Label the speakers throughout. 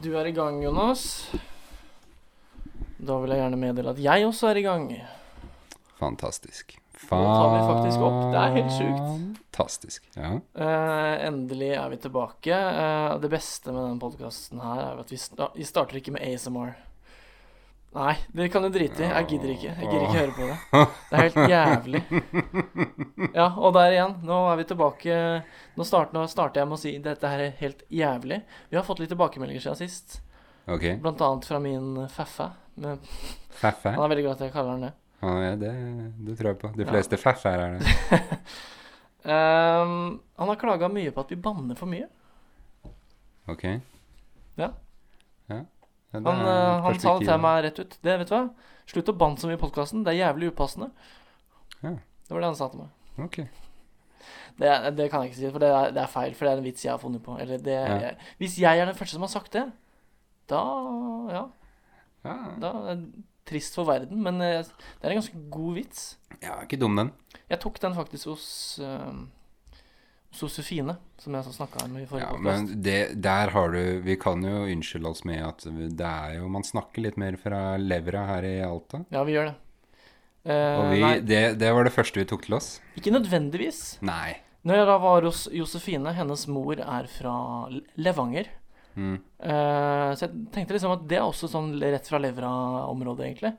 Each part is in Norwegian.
Speaker 1: du er i gang, Jonas. Da vil jeg gjerne meddele at jeg også er i gang.
Speaker 2: Fantastisk.
Speaker 1: Nå tar vi faktisk opp. Det er helt sjukt.
Speaker 2: Fantastisk. Ja.
Speaker 1: Eh, endelig er vi tilbake. Eh, det beste med denne podkasten her er jo at vi, sta vi starter ikke med ASMR. Nei, det kan du drite i. Jeg gidder ikke. Jeg gidder ikke høre på det. Det er helt jævlig. Ja, og der igjen. Nå er vi tilbake. Nå starter, nå starter jeg med å si dette her er helt jævlig. Vi har fått litt tilbakemeldinger siden sist,
Speaker 2: Ok.
Speaker 1: blant annet fra min feffe. Men
Speaker 2: Feffe.
Speaker 1: han er veldig glad at jeg kaller han det.
Speaker 2: Ja, ja, det, det tror jeg på. De fleste feffer er det.
Speaker 1: Ehm, han har klaga mye på at vi banner for mye.
Speaker 2: Ok.
Speaker 1: Ja.
Speaker 2: Ja. Ja, det
Speaker 1: Han,
Speaker 2: er
Speaker 1: eh, han sa det
Speaker 2: perspektiv.
Speaker 1: til meg rett ut. Det, vet du hva? Slutt å banne så mye i podkasten. Det er jævlig upassende.
Speaker 2: Ja.
Speaker 1: Det var det han sa til meg.
Speaker 2: Ok.
Speaker 1: Det, det kan jeg ikke si, for det er, det er feil. For det er en vits jeg har funnet på. Eller det,
Speaker 2: Ja.
Speaker 1: jeg, hvis jeg er den første som har sagt det, da Ja.
Speaker 2: Ja,
Speaker 1: Da er det trist for verden, men eh, det er en ganske god vits.
Speaker 2: ja ikke dum den.
Speaker 1: Jeg tok den faktisk hos eh, hos Josefine, som jeg snakka med i forrige
Speaker 2: Ja,
Speaker 1: podcast.
Speaker 2: men det, der har du Vi kan jo unnskylde oss med at det er jo Man snakker litt mer fra levra her i Alta.
Speaker 1: Ja, vi gjør det. Eh,
Speaker 2: Og vi,
Speaker 1: nei,
Speaker 2: det, det var det første vi tok til oss.
Speaker 1: ikke nødvendigvis.
Speaker 2: Nei.
Speaker 1: Når jeg da var hos Josefine, hennes mor er fra Le- Levanger.
Speaker 2: Mm.
Speaker 1: Eh, så jeg tenkte liksom at det er også sånn rett fra levra-området, egentlig.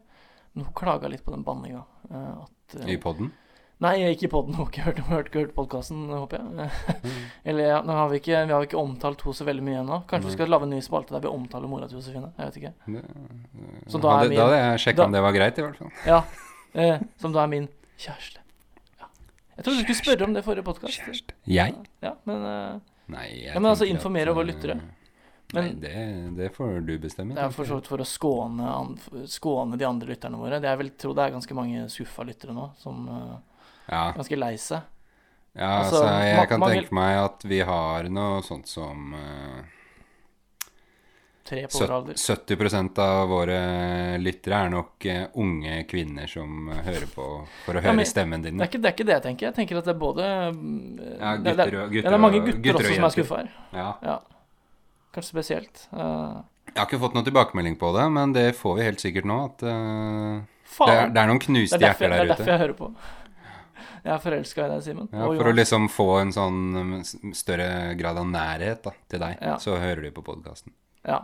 Speaker 1: Men hun klaga litt på den banninga. eh, at, eh,
Speaker 2: I podden.
Speaker 1: nei, ikke på den, hun har ikke hørt, hørt, hørt podkasten, håper jeg.
Speaker 2: Mm.
Speaker 1: Eller ja, nå har vi, ikke, vi har ikke omtalt henne så veldig mye ennå. Kanskje
Speaker 2: Mm.
Speaker 1: vi skal lage en ny spalte der vi omtaler mora til Josefine? Jeg vet ikke.
Speaker 2: Det-
Speaker 1: Så da er
Speaker 2: hadde,
Speaker 1: min,
Speaker 2: Mm. da hadde jeg sjekka
Speaker 1: da-
Speaker 2: om det var greit, i hvert fall.
Speaker 1: ja, eh, som da er min kjæreste. Ja. Jeg trodde du skulle spørre om det i forrige podkast.
Speaker 2: Kjæreste. Jeg?
Speaker 1: Ja, men eh,
Speaker 2: Nei, jeg
Speaker 1: Ja, men altså,
Speaker 2: tenker at,
Speaker 1: informere våre
Speaker 2: eh,
Speaker 1: lyttere.
Speaker 2: Nei,
Speaker 1: Men-
Speaker 2: det, det får du bestemme.
Speaker 1: Det er
Speaker 2: tenker
Speaker 1: for
Speaker 2: jeg.
Speaker 1: så vidt for å skåne, an- skåne de andre lytterne våre. Det jeg vil tro det er ganske mange skuffa lyttere nå, som eh,
Speaker 2: Ja,
Speaker 1: er ganske lei seg.
Speaker 2: ja
Speaker 1: Altså,
Speaker 2: så jeg
Speaker 1: ma-
Speaker 2: kan
Speaker 1: mange-
Speaker 2: tenke meg at vi har noe sånt som eh,
Speaker 1: Tre på vår
Speaker 2: Søt-
Speaker 1: alder.
Speaker 2: 70 av våre lyttere er nok eh, unge kvinner som eh, hører på for å høre
Speaker 1: men-
Speaker 2: stemmen din.
Speaker 1: Det er, ikke, det er ikke det jeg tenker. Jeg tenker at det er både mm,
Speaker 2: Ja,
Speaker 1: det- det,
Speaker 2: gutter
Speaker 1: er-
Speaker 2: og-
Speaker 1: ja,
Speaker 2: gutter
Speaker 1: det er mange
Speaker 2: og-
Speaker 1: gutter,
Speaker 2: gutter og
Speaker 1: også som er
Speaker 2: jenter.
Speaker 1: skuffa her.
Speaker 2: Ja.
Speaker 1: Ja. Kanskje spesielt. Eh,
Speaker 2: Jeg har ikke fått noen tilbakemelding på det, men det får vi helt sikkert nå. At, eh, det, er,
Speaker 1: faen!
Speaker 2: det er noen
Speaker 1: Det er
Speaker 2: knuste
Speaker 1: derfor,
Speaker 2: hjerter
Speaker 1: det er
Speaker 2: der
Speaker 1: derfor
Speaker 2: ute.
Speaker 1: jeg hører på. Jeg er forelska i deg, Simen.
Speaker 2: Ja,
Speaker 1: Og
Speaker 2: for å
Speaker 1: Jonas.
Speaker 2: liksom få en sånn mm, s- større grad av nærhet da, til deg,
Speaker 1: Ja.
Speaker 2: så hører du på podkasten.
Speaker 1: Ja.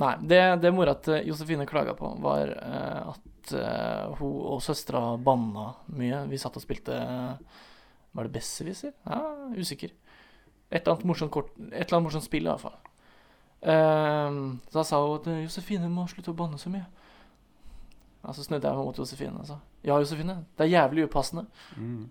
Speaker 1: Nei, det, det mora til Josefine klaga på, var eh, at eh, hun og søstera banna mye. Vi satt og spilte eh, Var det Besserwisser? Ja, usikker. Et eller annet morsomt, kort, et eller annet morsomt spill, i hvert fall. Ehm, så da sa hun at eh, Josefine må slutte å banne så mye. Ja, Så snudde jeg meg mot Josefine og sa ja, Josefine, det er jævlig upassende.
Speaker 2: Mm.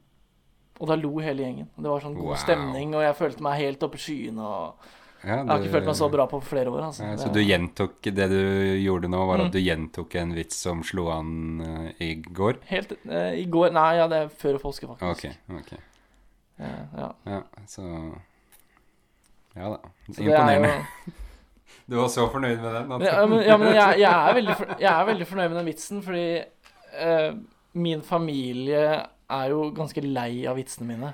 Speaker 1: Og da lo hele gjengen. Det var sånn god
Speaker 2: Wow.
Speaker 1: stemning, og jeg følte meg helt oppe i skyene. Og...
Speaker 2: Ja,
Speaker 1: Jeg har
Speaker 2: du-
Speaker 1: ikke følt meg så bra på flere år. Altså.
Speaker 2: Ja, så
Speaker 1: Det-
Speaker 2: du gjentok det du gjorde nå, var
Speaker 1: Mm.
Speaker 2: at du gjentok en vits som slo an eh, i går?
Speaker 1: Helt eh, I går Nei, ja, det er før påske, faktisk.
Speaker 2: Ok, ok.
Speaker 1: Eh, ja.
Speaker 2: Ja, så Ja da.
Speaker 1: Så det er
Speaker 2: Imponerende.
Speaker 1: jo-
Speaker 2: Du var så fornøyd med den? At...
Speaker 1: Ja, men, ja, men jeg, jeg, er veldig for, jeg er veldig fornøyd med den vitsen, fordi eh, min familie er jo ganske lei av vitsene mine.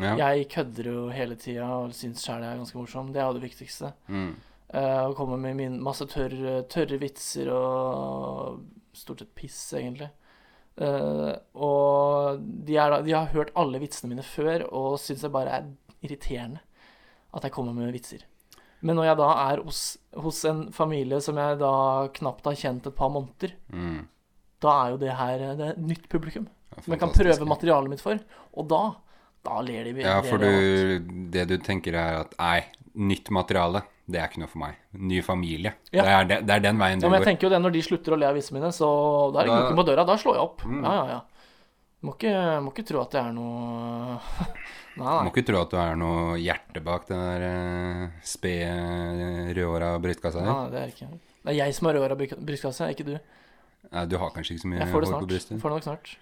Speaker 2: Ja.
Speaker 1: Jeg kødder jo hele tida og syns sjæl jeg er ganske morsom. Det er jo det viktigste.
Speaker 2: Mm.
Speaker 1: Eh, og kommer med min masse tørre, tørre vitser og stort sett piss, egentlig. Eh, og de, er da, de har hørt alle vitsene mine før og syns det bare er irriterende at jeg kommer med vitser. Men når jeg da er hos, hos en familie som jeg da knapt har kjent et par måneder,
Speaker 2: Mm.
Speaker 1: da er jo det her eh, det er et nytt publikum
Speaker 2: Ja,
Speaker 1: som jeg kan
Speaker 2: fantastisk.
Speaker 1: prøve materialet mitt for. Og da da ler de.
Speaker 2: Ja,
Speaker 1: ler
Speaker 2: for
Speaker 1: de av alt.
Speaker 2: du, det du tenker er at nei, nytt materiale, det er ikke noe for meg. Ny familie.
Speaker 1: Ja.
Speaker 2: Det, er de, det er den veien du
Speaker 1: Ja, men jeg
Speaker 2: går.
Speaker 1: tenker jo det når de slutter å le av vitsene mine, så da er det
Speaker 2: Da-
Speaker 1: knokken på døra. Da slår jeg opp.
Speaker 2: Mm.
Speaker 1: Ja, ja, ja. Må ikke, må ikke tro at det er noe Nei,
Speaker 2: Du må
Speaker 1: nei.
Speaker 2: ikke tro at du er noe hjerte bak den der eh, spede rødhåra brystkassa
Speaker 1: nei
Speaker 2: di.
Speaker 1: det er ikke. Det er jeg som har røra brystkasse, ikke du.
Speaker 2: Nei, Du har kanskje ikke så mye
Speaker 1: Jeg får
Speaker 2: hår
Speaker 1: det
Speaker 2: på
Speaker 1: snart.
Speaker 2: brystet?
Speaker 1: Får det nok snart.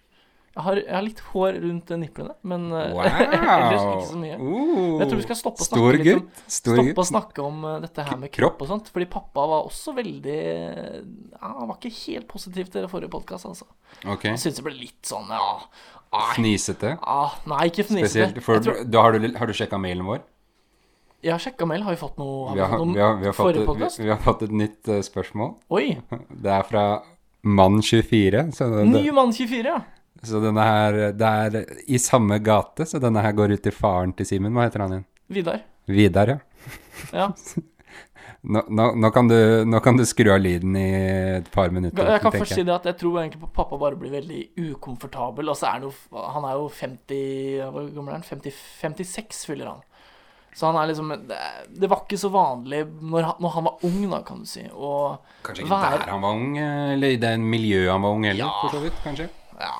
Speaker 1: Jeg har, jeg har litt hår rundt niplene, men eh,
Speaker 2: Wow!
Speaker 1: ellers ikke så mye.
Speaker 2: Oh,
Speaker 1: Jeg tror vi skal stoppe å snakke
Speaker 2: Stor
Speaker 1: litt om-
Speaker 2: gutt. Stor
Speaker 1: Stoppe å
Speaker 2: gutt.
Speaker 1: snakke om eh, dette her med
Speaker 2: Kropp.
Speaker 1: kropp og sånt, fordi pappa var også veldig eh, ja, Han var ikke helt positiv til det forrige podkast, altså.
Speaker 2: Ok.
Speaker 1: Han syntes det ble litt sånn, ja Nei,
Speaker 2: Fnisete.
Speaker 1: ah, nei ikke fnisete.
Speaker 2: Spesielt, for
Speaker 1: Jeg tror-
Speaker 2: da har du, har du sjekka mailen vår?
Speaker 1: Jeg har sjekka mail. Har vi fått noe?
Speaker 2: Vi har,
Speaker 1: fått noe
Speaker 2: vi, har, vi, har fått
Speaker 1: forrige
Speaker 2: et, vi,
Speaker 1: podcast?
Speaker 2: vi har fått et nytt eh, spørsmål.
Speaker 1: Oi!
Speaker 2: Det er fra Mann24. Så, det-
Speaker 1: Ny mann 24, ja.
Speaker 2: så denne her Det er i samme gate, så denne her går ut til faren til Simen. Hva heter han igjen?
Speaker 1: Vidar.
Speaker 2: Vidar, ja.
Speaker 1: Ja.
Speaker 2: Nå, nå, nå, kan du, nå kan du skru av lyden i et par minutter.
Speaker 1: Jeg kan
Speaker 2: tenker
Speaker 1: først si det at jeg tror egentlig pappa bare blir veldig ukomfortabel. Altså er han, jo, han er jo 50 Hvor gammel er han? 50, 56 fyller han. Så han er liksom Det, det var ikke så vanlig når han, når han var ung, da, kan du si. Og
Speaker 2: Kanskje ikke
Speaker 1: Vær-
Speaker 2: der han var ung, eller i det miljøet han var ung heller, for så vidt, kanskje.
Speaker 1: ja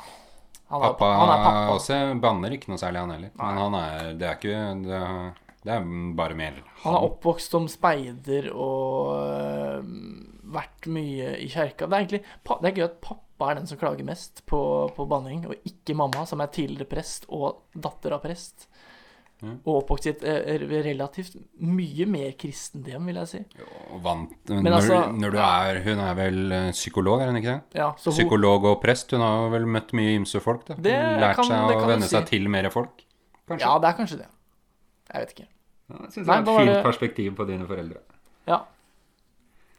Speaker 1: Han er,
Speaker 2: Pappa,
Speaker 1: han er pappa.
Speaker 2: også banner ikke noe særlig, han heller. Men han er Det er ikke Det er, det er bare mer
Speaker 1: Han er oppvokst som speider og øh, vært mye i kjerka. Det er egentlig pa- det er gøy at pappa er den som klager mest på, på banning, og ikke mamma, som er tidligere prest og datter av prest.
Speaker 2: Ja.
Speaker 1: Og oppvokst i et eh, relativt mye mer kristent hjem, vil jeg si.
Speaker 2: og vant Men
Speaker 1: Men
Speaker 2: når,
Speaker 1: altså-
Speaker 2: når du er Hun er vel eh, psykolog, er hun ikke det?
Speaker 1: Ja, så hun,
Speaker 2: Psykolog og prest. Hun har vel møtt mye ymse folk, da.
Speaker 1: Det
Speaker 2: Lært
Speaker 1: kan-
Speaker 2: seg
Speaker 1: det
Speaker 2: å
Speaker 1: kan du
Speaker 2: venne seg
Speaker 1: si.
Speaker 2: til mer folk, kanskje.
Speaker 1: ja, det er kanskje det. Jeg vet ikke.
Speaker 2: Jeg syns
Speaker 1: Nei, da var det-
Speaker 2: perspektiv på dine foreldre.
Speaker 1: Ja.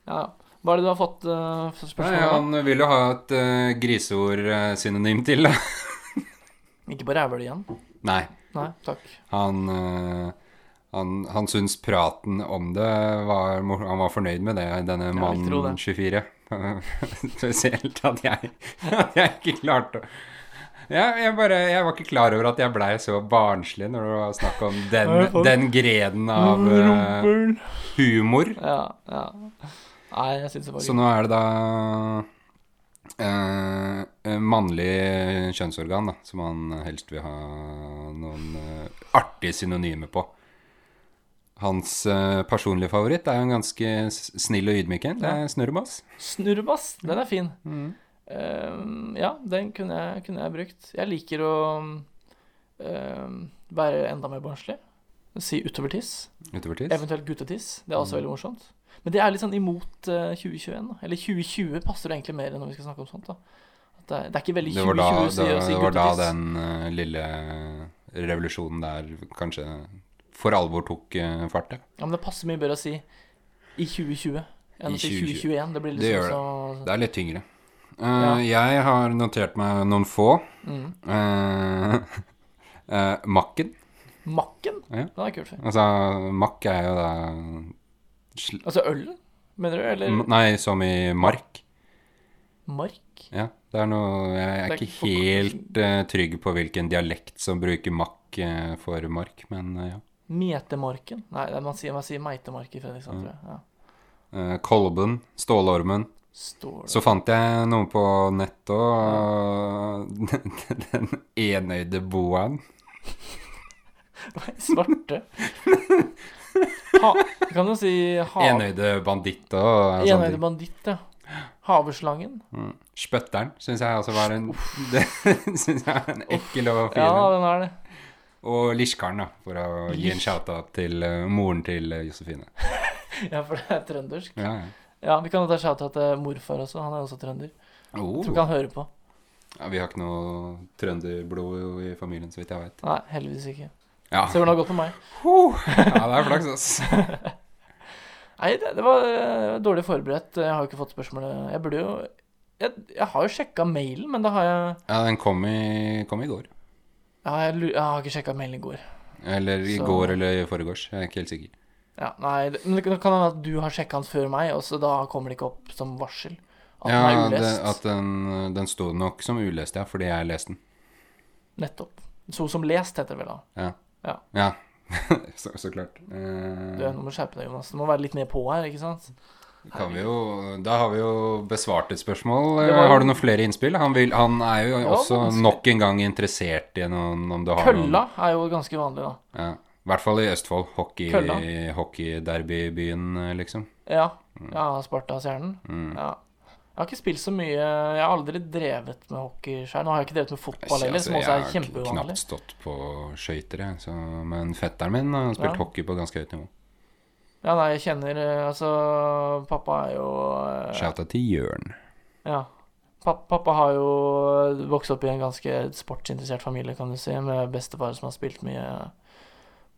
Speaker 1: ja, ja. Hva er det du har fått eh, for
Speaker 2: Nei,
Speaker 1: spørsmål? om?
Speaker 2: han vil jo ha et eh, griseord-synonym til, da.
Speaker 1: Ikke på rævhølet igjen?
Speaker 2: Nei.
Speaker 1: Nei, takk.
Speaker 2: Han, eh, han, han syns praten om det var mor- Han var fornøyd med det, denne
Speaker 1: vil tro det.
Speaker 2: mannen 24. Spesielt at jeg, at jeg ikke klarte å ja, jeg, bare, jeg var ikke klar over at jeg blei så barnslig når det var snakk om den,
Speaker 1: Nei, faen.
Speaker 2: den greden av eh,
Speaker 1: Rumpehull.
Speaker 2: humor.
Speaker 1: Ja, ja. Nei, jeg syns det var
Speaker 2: Så nå er det da eh, eh, mannlig kjønnsorgan, da, som han helst vil ha noen eh, artige synonymer på. Hans eh, personlige favoritt er jo en ganske s- snill og ydmyk en. Det er Snurrebass.
Speaker 1: Snurrebass, den er fin.
Speaker 2: Mm.
Speaker 1: Ehm, ja, den kunne jeg, kunne jeg brukt. Jeg liker å ehm, være enda mer barnslig. Si utovertiss.
Speaker 2: Utover tids.
Speaker 1: Eventuelt guttetiss. Det er
Speaker 2: Mm.
Speaker 1: også veldig morsomt. Men det er litt sånn imot eh, 2021. Da. Eller 2020 passer det egentlig mer når vi skal snakke om sånt. da At det, er, det er ikke veldig
Speaker 2: Det var da,
Speaker 1: 2020 å si,
Speaker 2: da,
Speaker 1: å si
Speaker 2: det var da
Speaker 1: guttetiss.
Speaker 2: den eh, lille revolusjonen der kanskje for alvor tok eh, fart, ja.
Speaker 1: Ja, men det passer mye bedre å si i 2020 enn
Speaker 2: I
Speaker 1: å si
Speaker 2: 2020.
Speaker 1: 2021. Det blir
Speaker 2: Det
Speaker 1: liksom
Speaker 2: Det er litt tyngre. Eh,
Speaker 1: Ja.
Speaker 2: Jeg har notert meg noen få.
Speaker 1: så mm.
Speaker 2: Eh, eh, makken.
Speaker 1: Makken?
Speaker 2: Ja.
Speaker 1: Den er kult. fin.
Speaker 2: Altså, makk er jo da sl
Speaker 1: Altså ølen, mener du? Eller
Speaker 2: M- Nei, som i mark.
Speaker 1: mark?
Speaker 2: Ja, det er noe Jeg er
Speaker 1: Det er
Speaker 2: ikke
Speaker 1: ikke for-
Speaker 2: helt eh, trygg på hvilken dialekt som bruker makk eh, for mark, men eh, ja.
Speaker 1: Metemarken? Nei, det er- man sier, man sier meitemark i Fredrikstad, tror jeg. Ja.
Speaker 2: Eh, kolben. Stålormen.
Speaker 1: Står det
Speaker 2: Så fant jeg noe på nettet òg. Den enøyde boaen.
Speaker 1: Nei, Svarte? Ha, du kan jo si hav...
Speaker 2: Enøyde banditt og sånne
Speaker 1: Enøyde
Speaker 2: ting.
Speaker 1: banditt, ja. Haveslangen?
Speaker 2: Mm. Spøtteren syns jeg også var en Det synes jeg er en ekkel og fin
Speaker 1: Ja,
Speaker 2: en.
Speaker 1: den er det.
Speaker 2: Og Lishkaren, da, for å gi en
Speaker 1: Lish.
Speaker 2: shout-out til eh, moren til eh, Josefine.
Speaker 1: Ja, for det er trøndersk.
Speaker 2: Ja, ja.
Speaker 1: Ja, vi kan jo ta shout-out til morfar også, han er også trønder.
Speaker 2: Oh.
Speaker 1: Jeg tror ikke han hører på.
Speaker 2: ja, vi har ikke noe trønderblod i familien, så vidt jeg veit.
Speaker 1: Nei, heldigvis ikke.
Speaker 2: Ja.
Speaker 1: Se hvordan det har gått med meg.
Speaker 2: Huh. ja, det er flaks, ass.
Speaker 1: Nei, det, det, var, eh, dårlig forberedt. Jeg har jo ikke fått spørsmålet. Jeg burde jo Jeg, jeg har jo sjekka mailen, men da har jeg
Speaker 2: Ja, den kom i, kom i går.
Speaker 1: Ja, jeg, lu- jeg har ikke sjekka mailen i går.
Speaker 2: Eller i
Speaker 1: Så-
Speaker 2: går eller i forgårs. Jeg er ikke helt sikker.
Speaker 1: Ja, nei, det, men det kan det kan hende at du har sjekka den før meg, og så da kommer det ikke opp som varsel. At
Speaker 2: ja,
Speaker 1: den er
Speaker 2: det,
Speaker 1: ulest.
Speaker 2: at den, den sto nok som ulest, ja, fordi jeg leste den.
Speaker 1: Nettopp. Så som lest heter det vel da.
Speaker 2: Ja. så, så klart. Eh,
Speaker 1: Du, nå må du skjerpe deg, Jonas. Du må være litt mer på her, ikke sant?
Speaker 2: Kan vi jo, da har vi jo besvart et spørsmål. Eh,
Speaker 1: Det var jo-
Speaker 2: Har du noen flere innspill? Han, vil, han er jo
Speaker 1: var
Speaker 2: også
Speaker 1: vanskelig.
Speaker 2: nok en gang interessert i noen om du har
Speaker 1: Kølla er jo ganske vanlig, da.
Speaker 2: noen ja. I hvert fall i Østfold. Hockey,
Speaker 1: Kølla.
Speaker 2: Hockeyderbybyen, liksom.
Speaker 1: Ja. ja Spartas-hjernen.
Speaker 2: Mm.
Speaker 1: Ja. Jeg har ikke spilt så mye Jeg har aldri drevet med hockey sjøl. Nå har jeg ikke drevet med fotball heller, som også er
Speaker 2: Altså, jeg har k-
Speaker 1: kjempeuvanlig.
Speaker 2: knapt stått på skøyter, jeg. Så, men fetteren min har spilt
Speaker 1: Ja.
Speaker 2: hockey på ganske høyt nivå.
Speaker 1: Ja, nei, jeg kjenner eh, Altså, pappa er jo eh,
Speaker 2: Shouta til Jørn.
Speaker 1: Ja. Pappa, pappa har jo vokst opp i en ganske sportsinteressert familie, kan du si, med bestefar som har spilt mye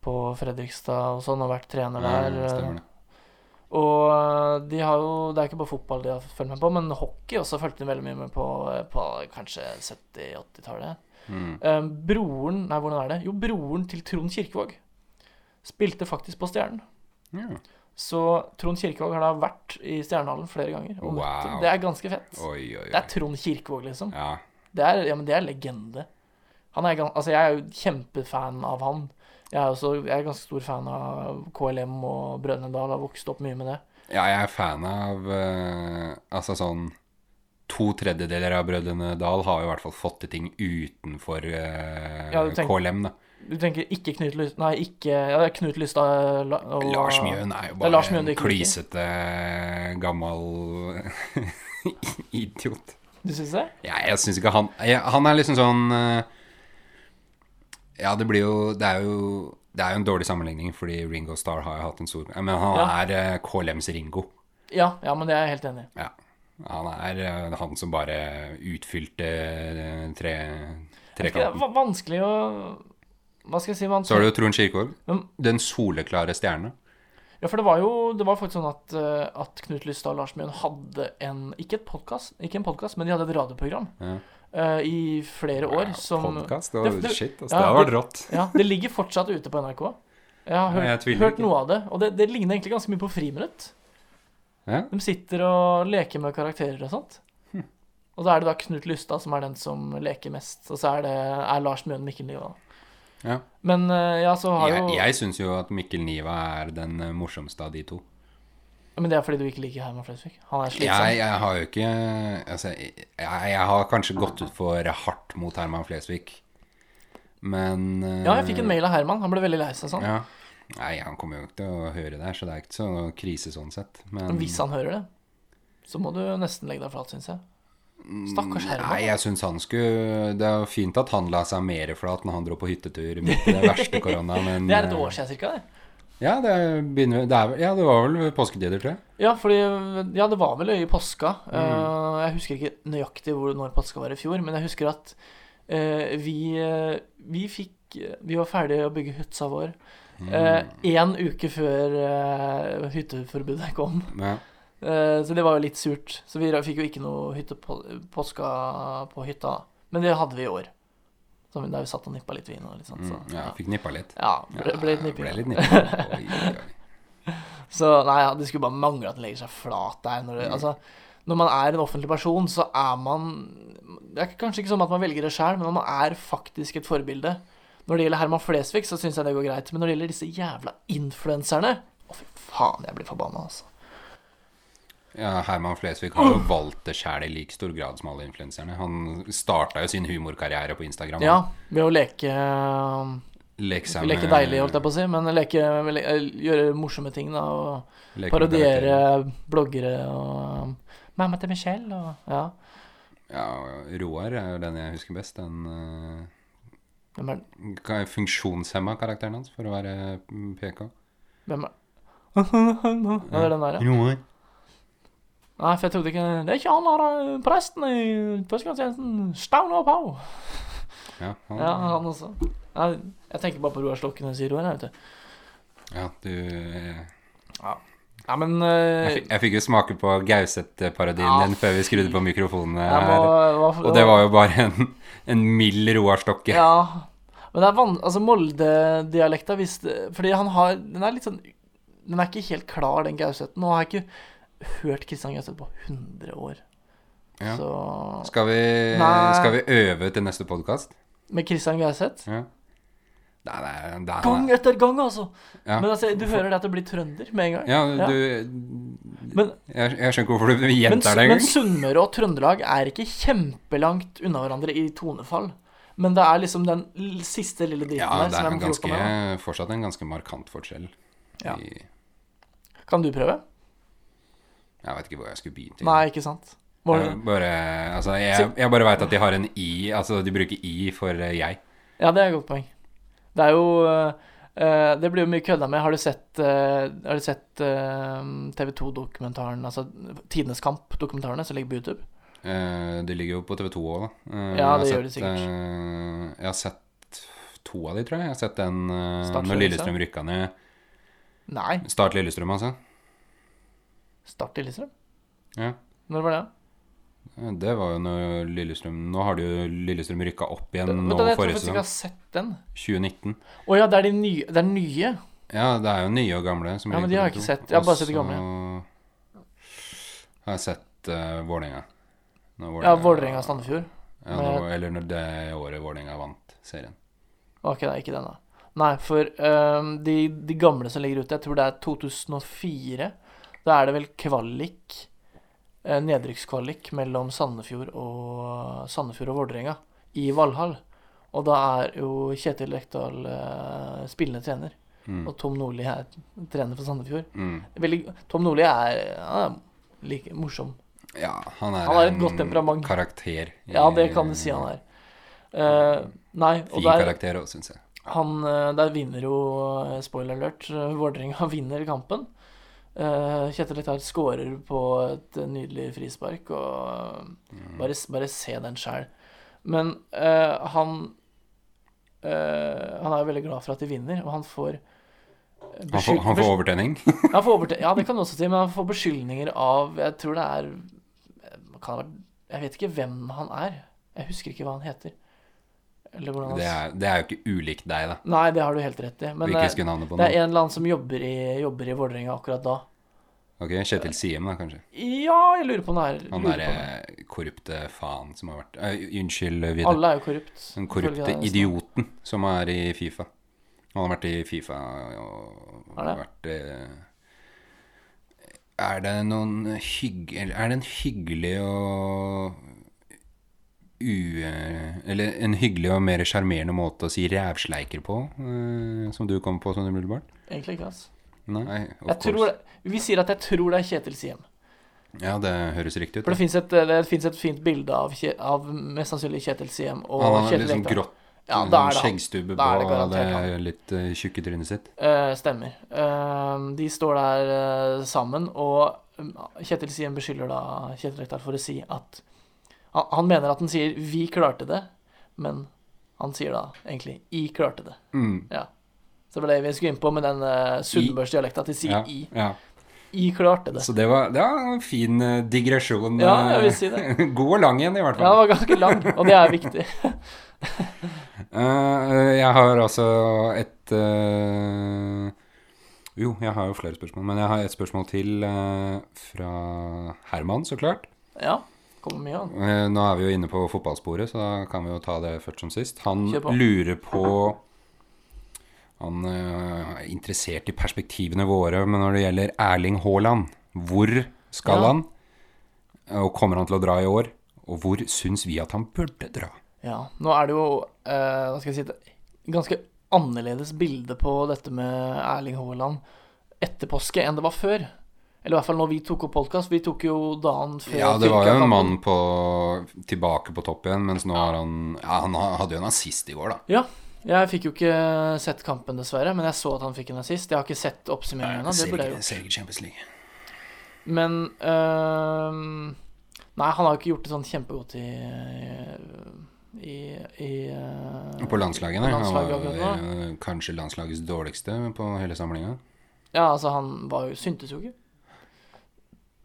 Speaker 1: på Fredrikstad og sånn, og vært trener der.
Speaker 2: Ja, stemmer det.
Speaker 1: Og eh, de har jo, det er ikke bare fotball de har fulgt med på, men hockey også fulgte de veldig mye med på eh, på kanskje 70-80-tallet.
Speaker 2: Mm.
Speaker 1: Eh, broren Nei, hvordan er det? Jo, broren til Trond Kirkevåg spilte faktisk på Stjernen.
Speaker 2: Ja.
Speaker 1: Så Trond Kirkevåg har da vært i Stjernehallen flere ganger. Og møtt dem.
Speaker 2: Wow.
Speaker 1: Det er ganske fett.
Speaker 2: Oi, oi,
Speaker 1: Det er
Speaker 2: oi.
Speaker 1: Trond Kirkevåg, liksom.
Speaker 2: Ja.
Speaker 1: Det er, ja, men det er legende. Han er, gan- altså, jeg er jo kjempefan av han. Jeg er, også, jeg er ganske stor fan av KLM og Brønnøydal, har vokst opp mye med det.
Speaker 2: ja, jeg er fan av eh, Altså sånn To tredjedeler av Brødrene Dal har jo i hvert fall fått til ting utenfor eh,
Speaker 1: Ja, du tenker-
Speaker 2: KLM, da.
Speaker 1: Du tenker ikke Knut Lystad Nei, ikke ja, det er Knut Lystad La- og
Speaker 2: Lars Mjøen er jo
Speaker 1: er
Speaker 2: bare
Speaker 1: Lars Mjøen
Speaker 2: en
Speaker 1: det ikke liker.
Speaker 2: klysete, eh, gammel idiot.
Speaker 1: Du syns det?
Speaker 2: Ja, jeg syns ikke han jeg, Han er liksom sånn eh, Ja, det blir jo Det er jo det er jo en dårlig sammenligning, fordi Ringo Starr har jo hatt en stor Men han
Speaker 1: Ja.
Speaker 2: er eh, KLMs Ringo.
Speaker 1: Ja, ja, men det er jeg helt enig i.
Speaker 2: Ja. Han er eh, han som bare utfylte eh, tre,
Speaker 1: Altså, Det er
Speaker 2: trekanten.
Speaker 1: va- vanskelig å Hva skal jeg si? Man,
Speaker 2: Så har du jo Trond Kirkvaag.
Speaker 1: Men-
Speaker 2: Den soleklare stjerne.
Speaker 1: Ja, for det var jo det var faktisk sånn at, eh, at Knut Lystad og Lars Mjøen hadde en Ikke et podcast, ikke en podkast, men de hadde et radioprogram
Speaker 2: Ja.
Speaker 1: eh, i flere år som
Speaker 2: Podkast?
Speaker 1: Det- det-
Speaker 2: Shit, altså,
Speaker 1: ja,
Speaker 2: det har vært
Speaker 1: det-
Speaker 2: rått.
Speaker 1: Ja, det ligger fortsatt ute på NRK. Jeg har
Speaker 2: Nei,
Speaker 1: hørt,
Speaker 2: jeg tviler
Speaker 1: hørt
Speaker 2: ikke.
Speaker 1: noe av det. Og det, det ligner egentlig ganske mye på Friminutt.
Speaker 2: Ja.
Speaker 1: De sitter og leker med karakterer og sånt.
Speaker 2: Hm.
Speaker 1: Og da er det da Knut Lystad som er den som leker mest. Og så er det er Lars Mjøen Mikkel Niva.
Speaker 2: Ja.
Speaker 1: Men eh, ja, så har
Speaker 2: Jeg,
Speaker 1: jo
Speaker 2: jeg syns jo at Mikkel Niva er den eh, morsomste av de to.
Speaker 1: Men det er fordi du ikke liker Herman Flesvig. Han er slitsom.
Speaker 2: Jeg, jeg har jo ikke altså, jeg, jeg har kanskje gått ut for hardt mot Herman Flesvig, men eh,
Speaker 1: Ja, jeg fikk en mail av Herman. Han ble veldig lei seg sånn.
Speaker 2: ja. Nei, han kommer jo ikke til å høre det her, så det er ikke så krise sånn sett. Men
Speaker 1: Men hvis han hører det, så må du nesten legge deg flat, syns jeg. Stakkars
Speaker 2: Nei,
Speaker 1: Herman.
Speaker 2: jeg syns han skulle Det er jo fint at han la seg mer flat når han dro på hyttetur midt i den verste korona, men eh,
Speaker 1: Det er et år siden cirka, det.
Speaker 2: Ja, det, er, begynner, det, er, vel- ja, det var vel ved påsketider, tror jeg.
Speaker 1: Ja, fordi, ja, det var vel i påska.
Speaker 2: Mm.
Speaker 1: Eh, jeg husker ikke nøyaktig hvor, når påska var i fjor, men jeg husker at eh, vi, eh, vi fikk Vi var ferdige å bygge hytta vår
Speaker 2: Mm,
Speaker 1: Eh, én uke før eh, hytteforbudet kom.
Speaker 2: Men,
Speaker 1: Eh, så det var jo litt surt. Så vi ra- fikk jo ikke noe hytte på, påska på hytta. Men det hadde vi i år. Så der vi satt og nippa litt vin og litt sånt. Så,
Speaker 2: Mm, ja,
Speaker 1: ja.
Speaker 2: fikk nippa litt.
Speaker 1: ja, ble, ble litt nipping.
Speaker 2: Ble litt nipping. Oi, oi, oi.
Speaker 1: Så nei, ja, det skulle bare mangle at den legger seg flat der. Når, det,
Speaker 2: Mm.
Speaker 1: altså, når man er en offentlig person, så er man Det er kanskje ikke sånn at man velger det sjøl, men når man er faktisk et forbilde Når det gjelder Herman Flesvig, så syns jeg det går greit. Men når det gjelder disse jævla influenserne Å, fy faen, jeg blir forbanna, altså.
Speaker 2: Ja, Herman Flesvig har jo valgt det sjæl i like stor grad som alle influenserne. Han starta jo sin humorkarriere på Instagram.
Speaker 1: Ja, ved å leke
Speaker 2: Leke seg
Speaker 1: Leke
Speaker 2: med-
Speaker 1: deilig, holdt jeg på å si, men leke, le- gjøre morsomme ting, da. Og
Speaker 2: leke med karakterer.
Speaker 1: parodiere bloggere og um, Mamma til Michelle og Ja.
Speaker 2: Ja, Roar er den jeg husker best. Den eh,
Speaker 1: Hvem er,
Speaker 2: ka- funksjonshemma karakteren hans, for å være mm, PK.
Speaker 1: hvem er Ja, det er den der, ja.
Speaker 2: Roar.
Speaker 1: Nei, for jeg trodde ikke Det er ikke han der eh, presten i prestegangstjenesten. Staun og Pau.
Speaker 2: Ja, han,
Speaker 1: Ja,
Speaker 2: ja.
Speaker 1: han også. Nei, jeg tenker bare på Roar Slokken og sier Roar, jeg, vet du.
Speaker 2: du eh,
Speaker 1: Ja, men
Speaker 2: jeg,
Speaker 1: eh,
Speaker 2: fikk, jeg fikk jo smake på Gauseth-parodien
Speaker 1: Ja,
Speaker 2: din før vi skrudde på mikrofonene
Speaker 1: jeg må
Speaker 2: her.
Speaker 1: hva-
Speaker 2: Og det var jo bare en, en mild Roar Stokke.
Speaker 1: Ja. Men det er van... Altså, Molde-dialekta hvis det- Fordi han har Den er litt sånn Den er ikke helt klar, den Gauseten. Og har jeg ikke hørt Kristian Gauseth på 100 år.
Speaker 2: Ja.
Speaker 1: Så
Speaker 2: Skal, vi,
Speaker 1: Nei.
Speaker 2: skal vi øve til neste podkast?
Speaker 1: Med Kristian Gauseth
Speaker 2: Ja. Nei, det er, det er,
Speaker 1: Gang etter gang, altså!
Speaker 2: Ja.
Speaker 1: Men altså, du hører det at det blir trønder med en gang.
Speaker 2: ja,
Speaker 1: Ja.
Speaker 2: du
Speaker 1: Men
Speaker 2: jeg, jeg skjønner ikke hvorfor du
Speaker 1: Men,
Speaker 2: gjentar det
Speaker 1: men
Speaker 2: engang.
Speaker 1: Sunnmøre og Trøndelag er ikke kjempelangt unna hverandre i tonefall. Men det er liksom den l- siste lille driten
Speaker 2: Ja,
Speaker 1: der
Speaker 2: det
Speaker 1: som jeg
Speaker 2: er en
Speaker 1: må kroke
Speaker 2: ganske,
Speaker 1: med.
Speaker 2: fortsatt en ganske markant forskjell.
Speaker 1: Ja.
Speaker 2: I,
Speaker 1: da. Kan du prøve?
Speaker 2: jeg vet ikke hvor jeg skulle begynt. i.
Speaker 1: Nei, ikke sant? Må
Speaker 2: Jeg
Speaker 1: du-
Speaker 2: bare, altså, jeg,
Speaker 1: Så-
Speaker 2: jeg bare veit at de har en i Altså, de bruker i for eh, jeg.
Speaker 1: Ja, det er et godt poeng. Det er jo eh, eh, Det blir jo mye kødda med. Har du sett, eh, har du sett eh, TV 2-dokumentaren, altså Tidenes Kamp-dokumentarene som ligger på YouTube?
Speaker 2: Eh, det ligger jo på TV2 òg, da. Eh,
Speaker 1: Ja, det
Speaker 2: jeg har
Speaker 1: gjør det
Speaker 2: sett, eh, jeg har sett to av de, tror jeg. Jeg har sett den eh,
Speaker 1: Start
Speaker 2: når
Speaker 1: Lillestrøm.
Speaker 2: Lillestrøm rykka ned.
Speaker 1: Nei,
Speaker 2: Start Lillestrøm, altså.
Speaker 1: Start Lillestrøm.
Speaker 2: Ja.
Speaker 1: Når var det?
Speaker 2: Eh, Det var jo når Lillestrøm Nå har det jo Lillestrøm rykka opp igjen
Speaker 1: Det- Vet
Speaker 2: nå
Speaker 1: du, jeg tror
Speaker 2: forrige
Speaker 1: faktisk ikke jeg har
Speaker 2: sesong.
Speaker 1: sett den.
Speaker 2: 2019.
Speaker 1: Å ja, det er de nye. Det er nye.
Speaker 2: Ja, det er jo nye og gamle. Som
Speaker 1: Ja, men de har jeg ikke sett. Jeg har bare sett de gamle.
Speaker 2: Og så har jeg sett eh, Vålerenga. Når
Speaker 1: Ja, Vålerenga-Sandefjord.
Speaker 2: Ja, når, eller når det året Vålerenga vant serien.
Speaker 1: Ok, nei, ikke den, da. Nei, for ehm, de, de gamle som ligger ute, jeg tror det er 2004. Da er det vel kvalik, eh, nedrykkskvalik, mellom Sandefjord og, Sandefjord og Vålerenga i Valhall. Og da er jo Kjetil Rekdal eh, spillende trener,
Speaker 2: Mm.
Speaker 1: og Tom Nordli er trener for Sandefjord.
Speaker 2: Mm.
Speaker 1: Veldig, Tom Nordli er, han er like morsom.
Speaker 2: Ja, han er
Speaker 1: Han har et
Speaker 2: en
Speaker 1: godt temperament.
Speaker 2: karakter. i-
Speaker 1: Ja, det kan du si han er. Eh, nei, og
Speaker 2: Fin
Speaker 1: der
Speaker 2: karakter òg, syns jeg.
Speaker 1: Han, eh, der vinner jo, eh, spoiler alert, eh, Vålerenga vinner kampen. Eh, Kjetil Rekdal skårer på et eh, nydelig frispark, og eh, bare, bare se den sjæl. Men eh, han eh, Han er jo veldig glad for at de vinner, og han får eh,
Speaker 2: Han får,
Speaker 1: beskyld-
Speaker 2: han får overtenning.
Speaker 1: han får overte- ja, det kan du også si, men han får beskyldninger av Jeg tror det er kan det være, Jeg vet ikke hvem han er. Jeg husker ikke hva han heter. Eller hvordan han
Speaker 2: Det er, det er jo ikke ulikt deg, da.
Speaker 1: Nei, det har du helt rett i. Men
Speaker 2: Vil ikke
Speaker 1: det,
Speaker 2: huske navnet på
Speaker 1: det er
Speaker 2: noen.
Speaker 1: en eller annen som jobber i, jobber i Vålerenga akkurat da.
Speaker 2: Ok, Kjetil Siem, da, kanskje.
Speaker 1: Ja, jeg lurer på om det er
Speaker 2: Han eh,
Speaker 1: lurer på
Speaker 2: derre
Speaker 1: om det er-
Speaker 2: korrupte faen som har vært Eh, Unnskyld, Vidar.
Speaker 1: Alle er jo korrupt.
Speaker 2: Den
Speaker 1: ifølge
Speaker 2: korrupte
Speaker 1: deg, altså.
Speaker 2: idioten som er i Fifa. Han har vært i Fifa og
Speaker 1: Er det?
Speaker 2: vært eh, Er det noen hygg... eller Er det en hyggelig og u... Eller en hyggelig og mer sjarmerende måte å si rævsleiker på, eh, som du kom på sånn umiddelbart?
Speaker 1: Egentlig ikke, altså.
Speaker 2: Nei, of
Speaker 1: Jeg tror
Speaker 2: course.
Speaker 1: det, vi sier at jeg tror det er Kjetil Siem.
Speaker 2: Ja, det høres riktig ut.
Speaker 1: For det
Speaker 2: da.
Speaker 1: fins et, det finnes et fint bilde av, Kje, av mest sannsynlig Kjetil Siem og
Speaker 2: Han har
Speaker 1: Kjetil
Speaker 2: liksom
Speaker 1: Rekdal.
Speaker 2: grått
Speaker 1: Ja,
Speaker 2: sånn
Speaker 1: da er det han.
Speaker 2: skjeggstubbe på
Speaker 1: Da er det garantert
Speaker 2: det
Speaker 1: han.
Speaker 2: litt eh, tjukke trynet sitt.
Speaker 1: Eh, stemmer. Eh, de står der eh, sammen, og um, Kjetil Siem beskylder da Kjetil Rekdal for å si at han, han mener at han sier 'vi klarte det', men han sier da egentlig 'i klarte det'.
Speaker 2: Mm.
Speaker 1: Ja. Så det var det vi skulle inn på med den uh, sunnmørsdialekta, at de sier
Speaker 2: Ja,
Speaker 1: 'i'.
Speaker 2: ja.
Speaker 1: 'I klarte det'.
Speaker 2: Så det var, det var en fin eh, digresjon.
Speaker 1: Ja,
Speaker 2: eh,
Speaker 1: jeg vil si det.
Speaker 2: God og lang en, i
Speaker 1: Ja,
Speaker 2: hvert
Speaker 1: det
Speaker 2: fall.
Speaker 1: var ganske lang, og det er viktig.
Speaker 2: Eh, jeg har altså et eh, Jo, jeg har jo flere spørsmål, men jeg har et spørsmål til eh, fra Herman, så klart.
Speaker 1: Ja. Kommer mye an.
Speaker 2: Eh, nå er vi jo inne på fotballsporet, så da kan vi jo ta det først som sist. Han
Speaker 1: Kjør på.
Speaker 2: lurer på Han eh, er interessert i perspektivene våre, men når det gjelder Erling Haaland, hvor skal
Speaker 1: Ja.
Speaker 2: han? Og kommer han til å dra i år? Og hvor syns vi at han burde dra?
Speaker 1: Ja, nå er det jo eh, hva skal jeg si, et ganske annerledes bilde på dette med Erling Haaland etter påske enn det var før. Eller i hvert fall når vi tok opp podkast. Vi tok jo dagen før
Speaker 2: Ja, det var jo en
Speaker 1: Tyrkia-kampen.
Speaker 2: mann på, tilbake på topp igjen, mens nå har han Ja, han ha- hadde jo en assist i går, da.
Speaker 1: Ja. Jeg fikk jo ikke sett kampen, dessverre, men jeg så at han fikk en assist. Jeg har ikke sett oppsummeringen ennå, det
Speaker 2: Ser
Speaker 1: burde jeg
Speaker 2: ikke,
Speaker 1: gjort.
Speaker 2: ser ikke Champions League.
Speaker 1: Men eh, Nei, han har jo ikke gjort det sånn kjempegodt i i, i eh,
Speaker 2: På
Speaker 1: på
Speaker 2: landslaget, nei. Han var
Speaker 1: landslaget
Speaker 2: jo
Speaker 1: akkurat nå.
Speaker 2: eh, kanskje landslagets dårligste på hele samlinga.
Speaker 1: Ja, altså, han var jo syntes jo ikke.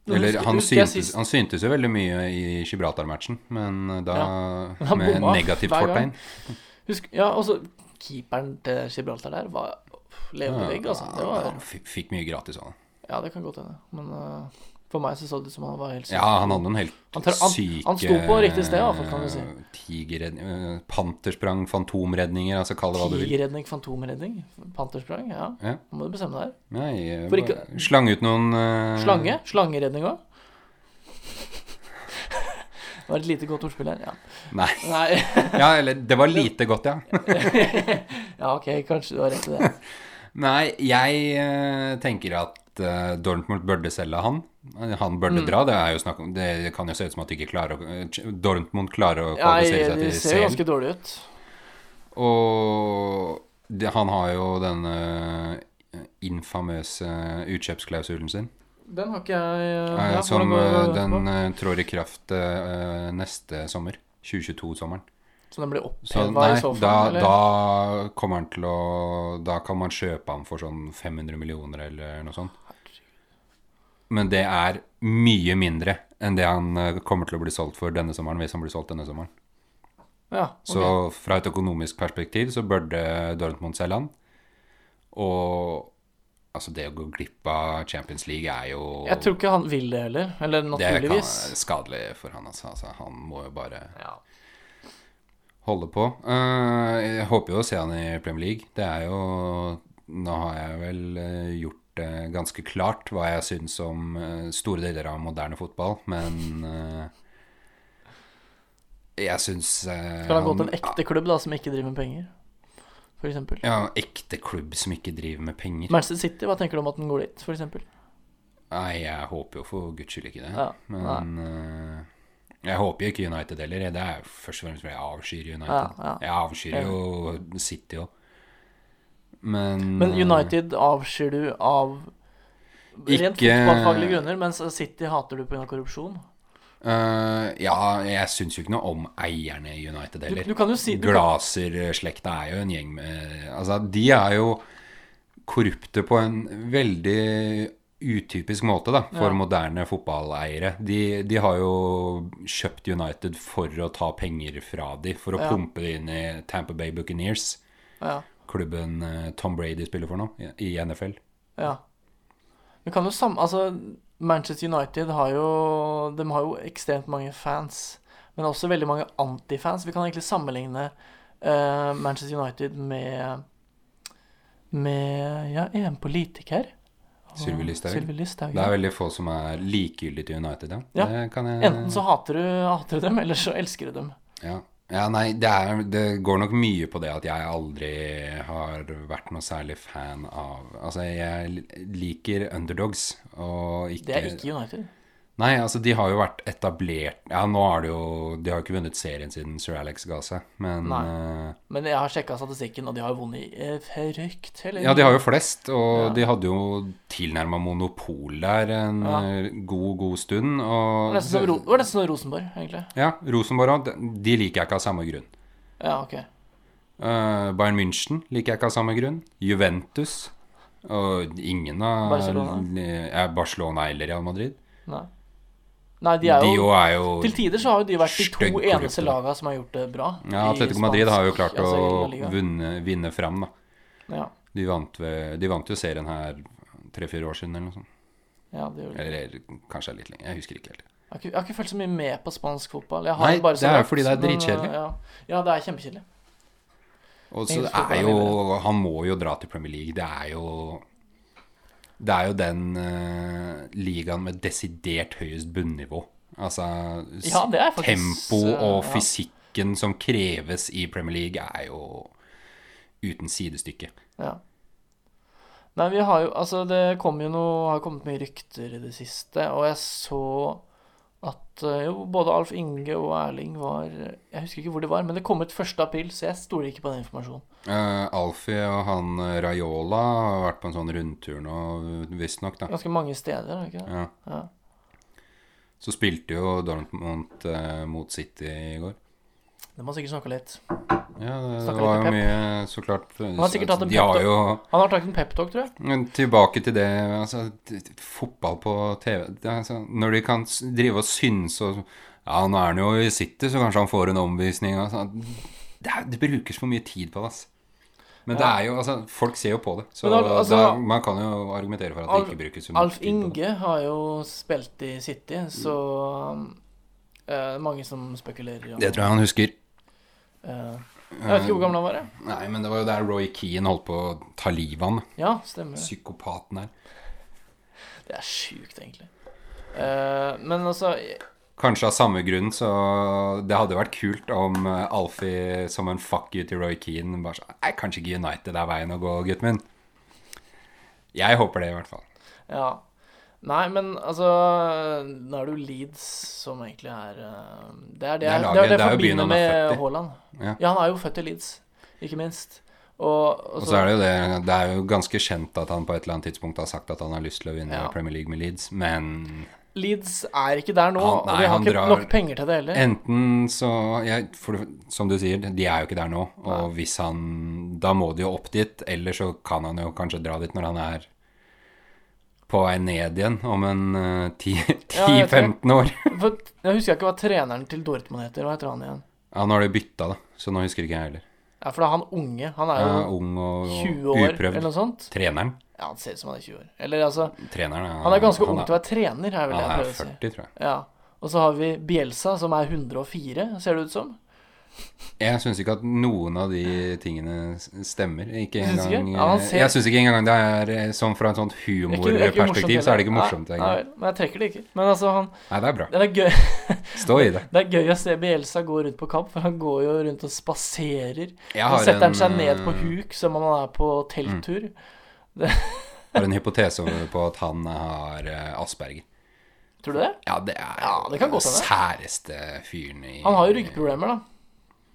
Speaker 2: Eller
Speaker 1: Husker-
Speaker 2: han
Speaker 1: husker jeg
Speaker 2: syntes,
Speaker 1: sist-
Speaker 2: han syntes jo veldig mye i Gibraltar-matchen, men da
Speaker 1: Men han
Speaker 2: med
Speaker 1: bomma
Speaker 2: negativt
Speaker 1: hver
Speaker 2: fortegn.
Speaker 1: gang. Husk, ja, altså, keeperen til Gibraltar der var uff, levende vegg, altså. Det
Speaker 2: Ja,
Speaker 1: var,
Speaker 2: han fikk, fikk mye gratis av han.
Speaker 1: ja, det kan godt hende. Men eh, for meg så så det ut som han var helt syk.
Speaker 2: Ja, han hadde noen helt
Speaker 1: Han tar- han-
Speaker 2: syke
Speaker 1: han sto på riktig sted, i hvert fall, kan du si.
Speaker 2: Tigerredninger Pantersprang, fantomredninger, altså kall det hva du vil.
Speaker 1: Tigerredning, fantomredning, pantersprang. Ja,
Speaker 2: Ja.
Speaker 1: nå må du bestemme deg her.
Speaker 2: Nei, eh,
Speaker 1: For ikke-
Speaker 2: bare slang ut noen eh,
Speaker 1: Slange. Slangeredning òg. Det var et lite godt ordspill her. Ja.
Speaker 2: Nei.
Speaker 1: Nei.
Speaker 2: Ja, eller Det var lite godt, ja.
Speaker 1: ja, OK, kanskje du har rett i det.
Speaker 2: Nei, jeg eh, tenker at eh, Dortmund burde selge han. Han burde
Speaker 1: Mm.
Speaker 2: dra. Det, er jo snakk om, det kan jo se ut som at de ikke klarer å, eh, Dortmund klarer å
Speaker 1: Ja,
Speaker 2: kvalifisere
Speaker 1: de
Speaker 2: seg
Speaker 1: ser jo
Speaker 2: til
Speaker 1: ganske
Speaker 2: serien.
Speaker 1: dårlige ut.
Speaker 2: Og det, han har jo denne infamøse eh, utkjøpsklausulen sin,
Speaker 1: Den har ikke jeg
Speaker 2: eh,
Speaker 1: ja,
Speaker 2: som
Speaker 1: hvordan går
Speaker 2: eh,
Speaker 1: det
Speaker 2: den
Speaker 1: etterpå?
Speaker 2: eh, trår i kraft eh, neste sommer. 2022-sommeren.
Speaker 1: Så den blir
Speaker 2: Så
Speaker 1: oppheva i
Speaker 2: nei,
Speaker 1: så fall?
Speaker 2: da,
Speaker 1: eller?
Speaker 2: da kommer han til å Da kan man kjøpe han for sånn 500 millioner eller noe sånt. Men det er mye mindre enn det han eh, kommer til å bli solgt for denne sommeren, hvis han blir solgt denne sommeren.
Speaker 1: Ja, ok.
Speaker 2: Så fra et økonomisk perspektiv så burde Dortmund selge han. Og altså, det å gå glipp av Champions League er jo
Speaker 1: Jeg tror ikke han vil det heller. Eller
Speaker 2: Det kan
Speaker 1: naturligvis.
Speaker 2: være skadelig for han, altså. altså. Han må jo bare
Speaker 1: Ja.
Speaker 2: holde på. Eh, jeg håper jo å se han i Premier League. Det er jo Nå har jeg vel eh, gjort det ganske klart hva jeg syns om eh, store deler av moderne fotball, men eh, jeg syns eh,
Speaker 1: Skal han gå til en ekte klubb da som ikke driver med penger, f.eks.?
Speaker 2: Ja, ekte klubb som ikke driver med penger.
Speaker 1: Manchester City, hva tenker du om at den går dit, f.eks.?
Speaker 2: Nei, jeg håper jo for guds skyld ikke det.
Speaker 1: Ja,
Speaker 2: men eh, jeg håper jo ikke United heller. Det er jo først og fremst fordi jeg avskyr
Speaker 1: Ja,
Speaker 2: United.
Speaker 1: ja.
Speaker 2: Jeg avskyr jo City òg. Men,
Speaker 1: Men United avskyr du av rent
Speaker 2: Ikke-
Speaker 1: fotballfaglige grunner, mens City hater du pga. korrupsjon.
Speaker 2: eh, Ja, jeg syns jo ikke noe om eierne i United
Speaker 1: Du,
Speaker 2: heller.
Speaker 1: du kan jo si du kan,
Speaker 2: Glaser-slekta er jo en gjeng med Altså, de er jo korrupte på en veldig utypisk måte, da, for
Speaker 1: Ja.
Speaker 2: moderne fotballeiere. De, de har jo kjøpt United for å ta penger fra de, for å
Speaker 1: Ja.
Speaker 2: pumpe det inn i Tamper Bay Buccaneers,
Speaker 1: ja,
Speaker 2: klubben eh, Tom Brady spiller for nå, i- i NFL.
Speaker 1: ja. Du kan jo sam... Altså, Manchester United har jo De har jo ekstremt mange fans, men også veldig mange antifans. Vi kan egentlig sammenligne eh, Manchester United med med ja, en politiker.
Speaker 2: Sylvi Listhaug.
Speaker 1: Sylvi Listhaug,
Speaker 2: Det
Speaker 1: ja.
Speaker 2: er veldig få som er likegyldige til United, ja.
Speaker 1: Ja.
Speaker 2: Det kan jeg
Speaker 1: Enten så hater du, hater du dem, eller så elsker du dem.
Speaker 2: Ja, ja nei, det, er, det går nok mye på det at jeg aldri har vært noe særlig fan av Altså, jeg liker underdogs, og ikke
Speaker 1: Det er ikke United.
Speaker 2: Nei, altså, de har jo vært etablert Ja, nå har de jo De har jo ikke vunnet serien siden Sir Alex ga seg, men
Speaker 1: Nei.
Speaker 2: eh,
Speaker 1: Men jeg har sjekka statistikken, og de har jo vunnet eh, frykt heller.
Speaker 2: Ja, de har jo flest, og
Speaker 1: Ja.
Speaker 2: de hadde jo tilnærma monopol der en
Speaker 1: Ja.
Speaker 2: eh, god, god stund,
Speaker 1: Det
Speaker 2: og
Speaker 1: var nesten som Ro- det var nesten som Rosenborg, egentlig.
Speaker 2: Ja, Rosenborg òg. De liker jeg ikke av samme grunn.
Speaker 1: Ja, ok.
Speaker 2: Eh, Bayern München liker jeg ikke av samme grunn. Juventus. Og ingen av
Speaker 1: Barcelona.
Speaker 2: Ja, Barcelona eller Real Madrid.
Speaker 1: Nei. Nei, de
Speaker 2: De
Speaker 1: er jo
Speaker 2: jo er jo
Speaker 1: Til tider så har jo de vært de to
Speaker 2: Stygg klubb,
Speaker 1: eneste
Speaker 2: da.
Speaker 1: laga som har gjort det bra.
Speaker 2: Ja,
Speaker 1: i
Speaker 2: Atletico Madrid har jo
Speaker 1: spansk-
Speaker 2: klart
Speaker 1: altså, i La
Speaker 2: å
Speaker 1: Liga.
Speaker 2: vinne, vinne fram, da.
Speaker 1: Ja,
Speaker 2: De vant, ved, de vant jo serien her tre-fire år siden, eller noe sånt.
Speaker 1: ja det gjorde de.
Speaker 2: Eller kanskje litt lenger. Jeg husker ikke helt.
Speaker 1: Jeg har ikke- jeg har ikke følt så mye med på spansk fotball. Jeg har
Speaker 2: Nei,
Speaker 1: bare
Speaker 2: det er jo
Speaker 1: så
Speaker 2: fordi det er
Speaker 1: vidt, men, eh,
Speaker 2: dritkjedelig.
Speaker 1: Ja. ja, det er kjempekjedelig.
Speaker 2: Og så
Speaker 1: Engelsk fotball
Speaker 2: er
Speaker 1: er
Speaker 2: jo Han må jo dra til Premier League. Det er jo Det er jo den eh, ligaen med desidert høyest bunnivå. Altså s-
Speaker 1: Ja, det er faktisk
Speaker 2: Tempo og
Speaker 1: eh, ja.
Speaker 2: fysikken som kreves i Premier League, er jo uten sidestykke.
Speaker 1: Ja. Nei, vi har jo Altså, det kom jo noe Har kommet mye rykter i det siste, og jeg så at eh, jo, både Alf Inge og Erling var Jeg husker ikke hvor de var, men det kom ut 1. april, så jeg stoler ikke på den informasjonen.
Speaker 2: Uh, Alfie og han eh, Raiola har vært på en sånn rundtur nå, visstnok, da.
Speaker 1: Ganske mange steder, er det ikke det?
Speaker 2: Ja.
Speaker 1: Ja.
Speaker 2: Så spilte jo Dortmund eh, mot City i går.
Speaker 1: De har sikkert snakka litt.
Speaker 2: Ja, det, det
Speaker 1: Snakker
Speaker 2: var
Speaker 1: litt
Speaker 2: jo
Speaker 1: pep.
Speaker 2: mye, så klart
Speaker 1: har sikkert hatt en
Speaker 2: De har
Speaker 1: pep, da.
Speaker 2: jo
Speaker 1: Han har tatt en peptalk, tror jeg.
Speaker 2: Men tilbake til det altså, t- t- Fotball på TV det er altså, Når de kan s- drive og synse og, Ja, nå er han jo i City, så kanskje han får en omvisning altså, det, er, det brukes for mye tid på det ass. Men det
Speaker 1: Ja.
Speaker 2: er jo, altså, folk ser jo på det Så
Speaker 1: Men al- altså-
Speaker 2: da, man kan jo argumentere for at
Speaker 1: Alf-
Speaker 2: det ikke brukes så mye
Speaker 1: Alf
Speaker 2: tid på det
Speaker 1: Inge har jo spilt i City, så eh, Mange som spekulerer om
Speaker 2: Det tror jeg han husker
Speaker 1: eh, Jeg vet ikke hvor gammel han var, jeg.
Speaker 2: Nei, men det var jo der Roy Keane holdt på å ta livet av han
Speaker 1: Ja, stemmer. det.
Speaker 2: Psykopaten her
Speaker 1: Det er sjukt, egentlig. Eh, men altså
Speaker 2: Kanskje av samme grunn, så det hadde vært kult om eh, Alfie som en fuck you til Roy Keane bare sånn Nei, kanskje ikke United er veien å gå, gutten min. Jeg håper det, i hvert fall.
Speaker 1: Ja. Nei, men altså Nå er det jo Leeds som egentlig er eh, Det er det, jeg-
Speaker 2: Det er
Speaker 1: det,
Speaker 2: laget,
Speaker 1: er det
Speaker 2: det er
Speaker 1: jeg
Speaker 2: jo byen
Speaker 1: forbinder
Speaker 2: han er født
Speaker 1: med
Speaker 2: i.
Speaker 1: Haaland.
Speaker 2: Ja.
Speaker 1: Ja. han er jo født i Leeds, ikke minst. Og, altså, og
Speaker 2: Og
Speaker 1: så-
Speaker 2: så er det jo det Det er jo ganske kjent at han på et eller annet tidspunkt har sagt at han har lyst til å vinne
Speaker 1: Ja.
Speaker 2: Premier League med Leeds, men
Speaker 1: Leeds er ikke der nå,
Speaker 2: Han-
Speaker 1: og
Speaker 2: nei,
Speaker 1: de har
Speaker 2: han
Speaker 1: ikke
Speaker 2: drar-
Speaker 1: nok penger til det heller.
Speaker 2: Enten så jeg, for, det- Som du sier, de er jo ikke der nå. Og hvis han Da må de jo opp dit, eller så kan han jo kanskje dra dit når han er på vei ned igjen om en eh, 10
Speaker 1: Ja, jeg vet det.
Speaker 2: 10-15 år.
Speaker 1: For jeg husker ikke hva treneren til Dortmund heter. Hva heter han igjen?
Speaker 2: Ja, nå har de bytta, da, så nå husker ikke jeg heller.
Speaker 1: Ja, for det er han unge. Han er jo
Speaker 2: Ja, ung og, og
Speaker 1: 20 år, eller
Speaker 2: uprøvd.
Speaker 1: noe sånt.
Speaker 2: Treneren.
Speaker 1: Ja, han ser ut som han er 20 år. Eller altså
Speaker 2: Treneren
Speaker 1: Han er ganske ung
Speaker 2: han
Speaker 1: til å være trener, er vel det jeg
Speaker 2: Han er
Speaker 1: prøver å si.
Speaker 2: 40, tror jeg.
Speaker 1: Ja. Og så har vi Bielsa, som er 104, ser det ut som.
Speaker 2: Jeg syns ikke at noen av de tingene s- stemmer. Ikke
Speaker 1: Syns ikke?
Speaker 2: engang
Speaker 1: Ja, han
Speaker 2: eh,
Speaker 1: ser-
Speaker 2: Jeg syns ikke engang det er eh, sånn fra et sånt
Speaker 1: Ikke- det ikke
Speaker 2: humorperspektiv,
Speaker 1: morsomt
Speaker 2: så er det
Speaker 1: heller.
Speaker 2: ikke morsomt.
Speaker 1: Nei,
Speaker 2: egentlig.
Speaker 1: nei, men jeg trekker det ikke. Men altså, han
Speaker 2: Nei, det er bra.
Speaker 1: Det er gøy,
Speaker 2: Stå i det.
Speaker 1: det er gøy å se Bielsa gå rundt på kamp, for han går jo rundt og spaserer.
Speaker 2: Jeg
Speaker 1: Så
Speaker 2: har
Speaker 1: setter
Speaker 2: en,
Speaker 1: han seg ned på
Speaker 2: eh, Mm.
Speaker 1: huk som om han er på telttur.
Speaker 2: eh, har en hypotese over på at han har eh, Asperger.
Speaker 1: Tror du det?
Speaker 2: Ja, det er
Speaker 1: Ja, det kan godt hende.
Speaker 2: særeste fyren i
Speaker 1: Han har jo ryggproblemer, da.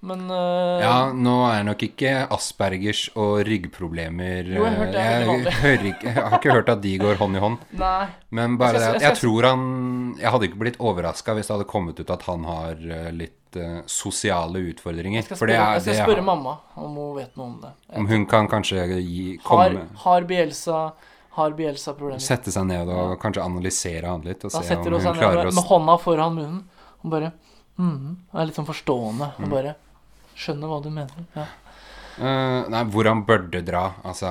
Speaker 1: Men eh,
Speaker 2: Ja, nå er nok ikke Aspergers og ryggproblemer
Speaker 1: Jo, jeg hørte det er veldig
Speaker 2: eh,
Speaker 1: vanlig.
Speaker 2: jeg, hører ikke, jeg har ikke hørt at de går hånd i hånd.
Speaker 1: Nei.
Speaker 2: Men bare
Speaker 1: Jeg skal-
Speaker 2: det at
Speaker 1: jeg
Speaker 2: jeg
Speaker 1: skal-
Speaker 2: tror han Jeg hadde ikke blitt overraska hvis det hadde kommet ut at han har eh, litt eh, sosiale utfordringer.
Speaker 1: Jeg skal
Speaker 2: For det
Speaker 1: spørre,
Speaker 2: er
Speaker 1: jeg skal
Speaker 2: det
Speaker 1: spørre
Speaker 2: jeg har.
Speaker 1: mamma om hun vet noe om det.
Speaker 2: Om hun kan kanskje gi,
Speaker 1: Har,
Speaker 2: komme
Speaker 1: har Bielsa Har Bielsa problemer?
Speaker 2: Sette seg ned og kanskje analysere han litt
Speaker 1: Da
Speaker 2: og se om
Speaker 1: setter hun
Speaker 2: hun
Speaker 1: seg ned
Speaker 2: klarer
Speaker 1: med,
Speaker 2: å
Speaker 1: med hånda foran munnen og bare mm, Er litt sånn forstående
Speaker 2: Mm.
Speaker 1: og bare skjønner hva du mener. Ja.
Speaker 2: Eh, nei, hvor han burde dra. Altså,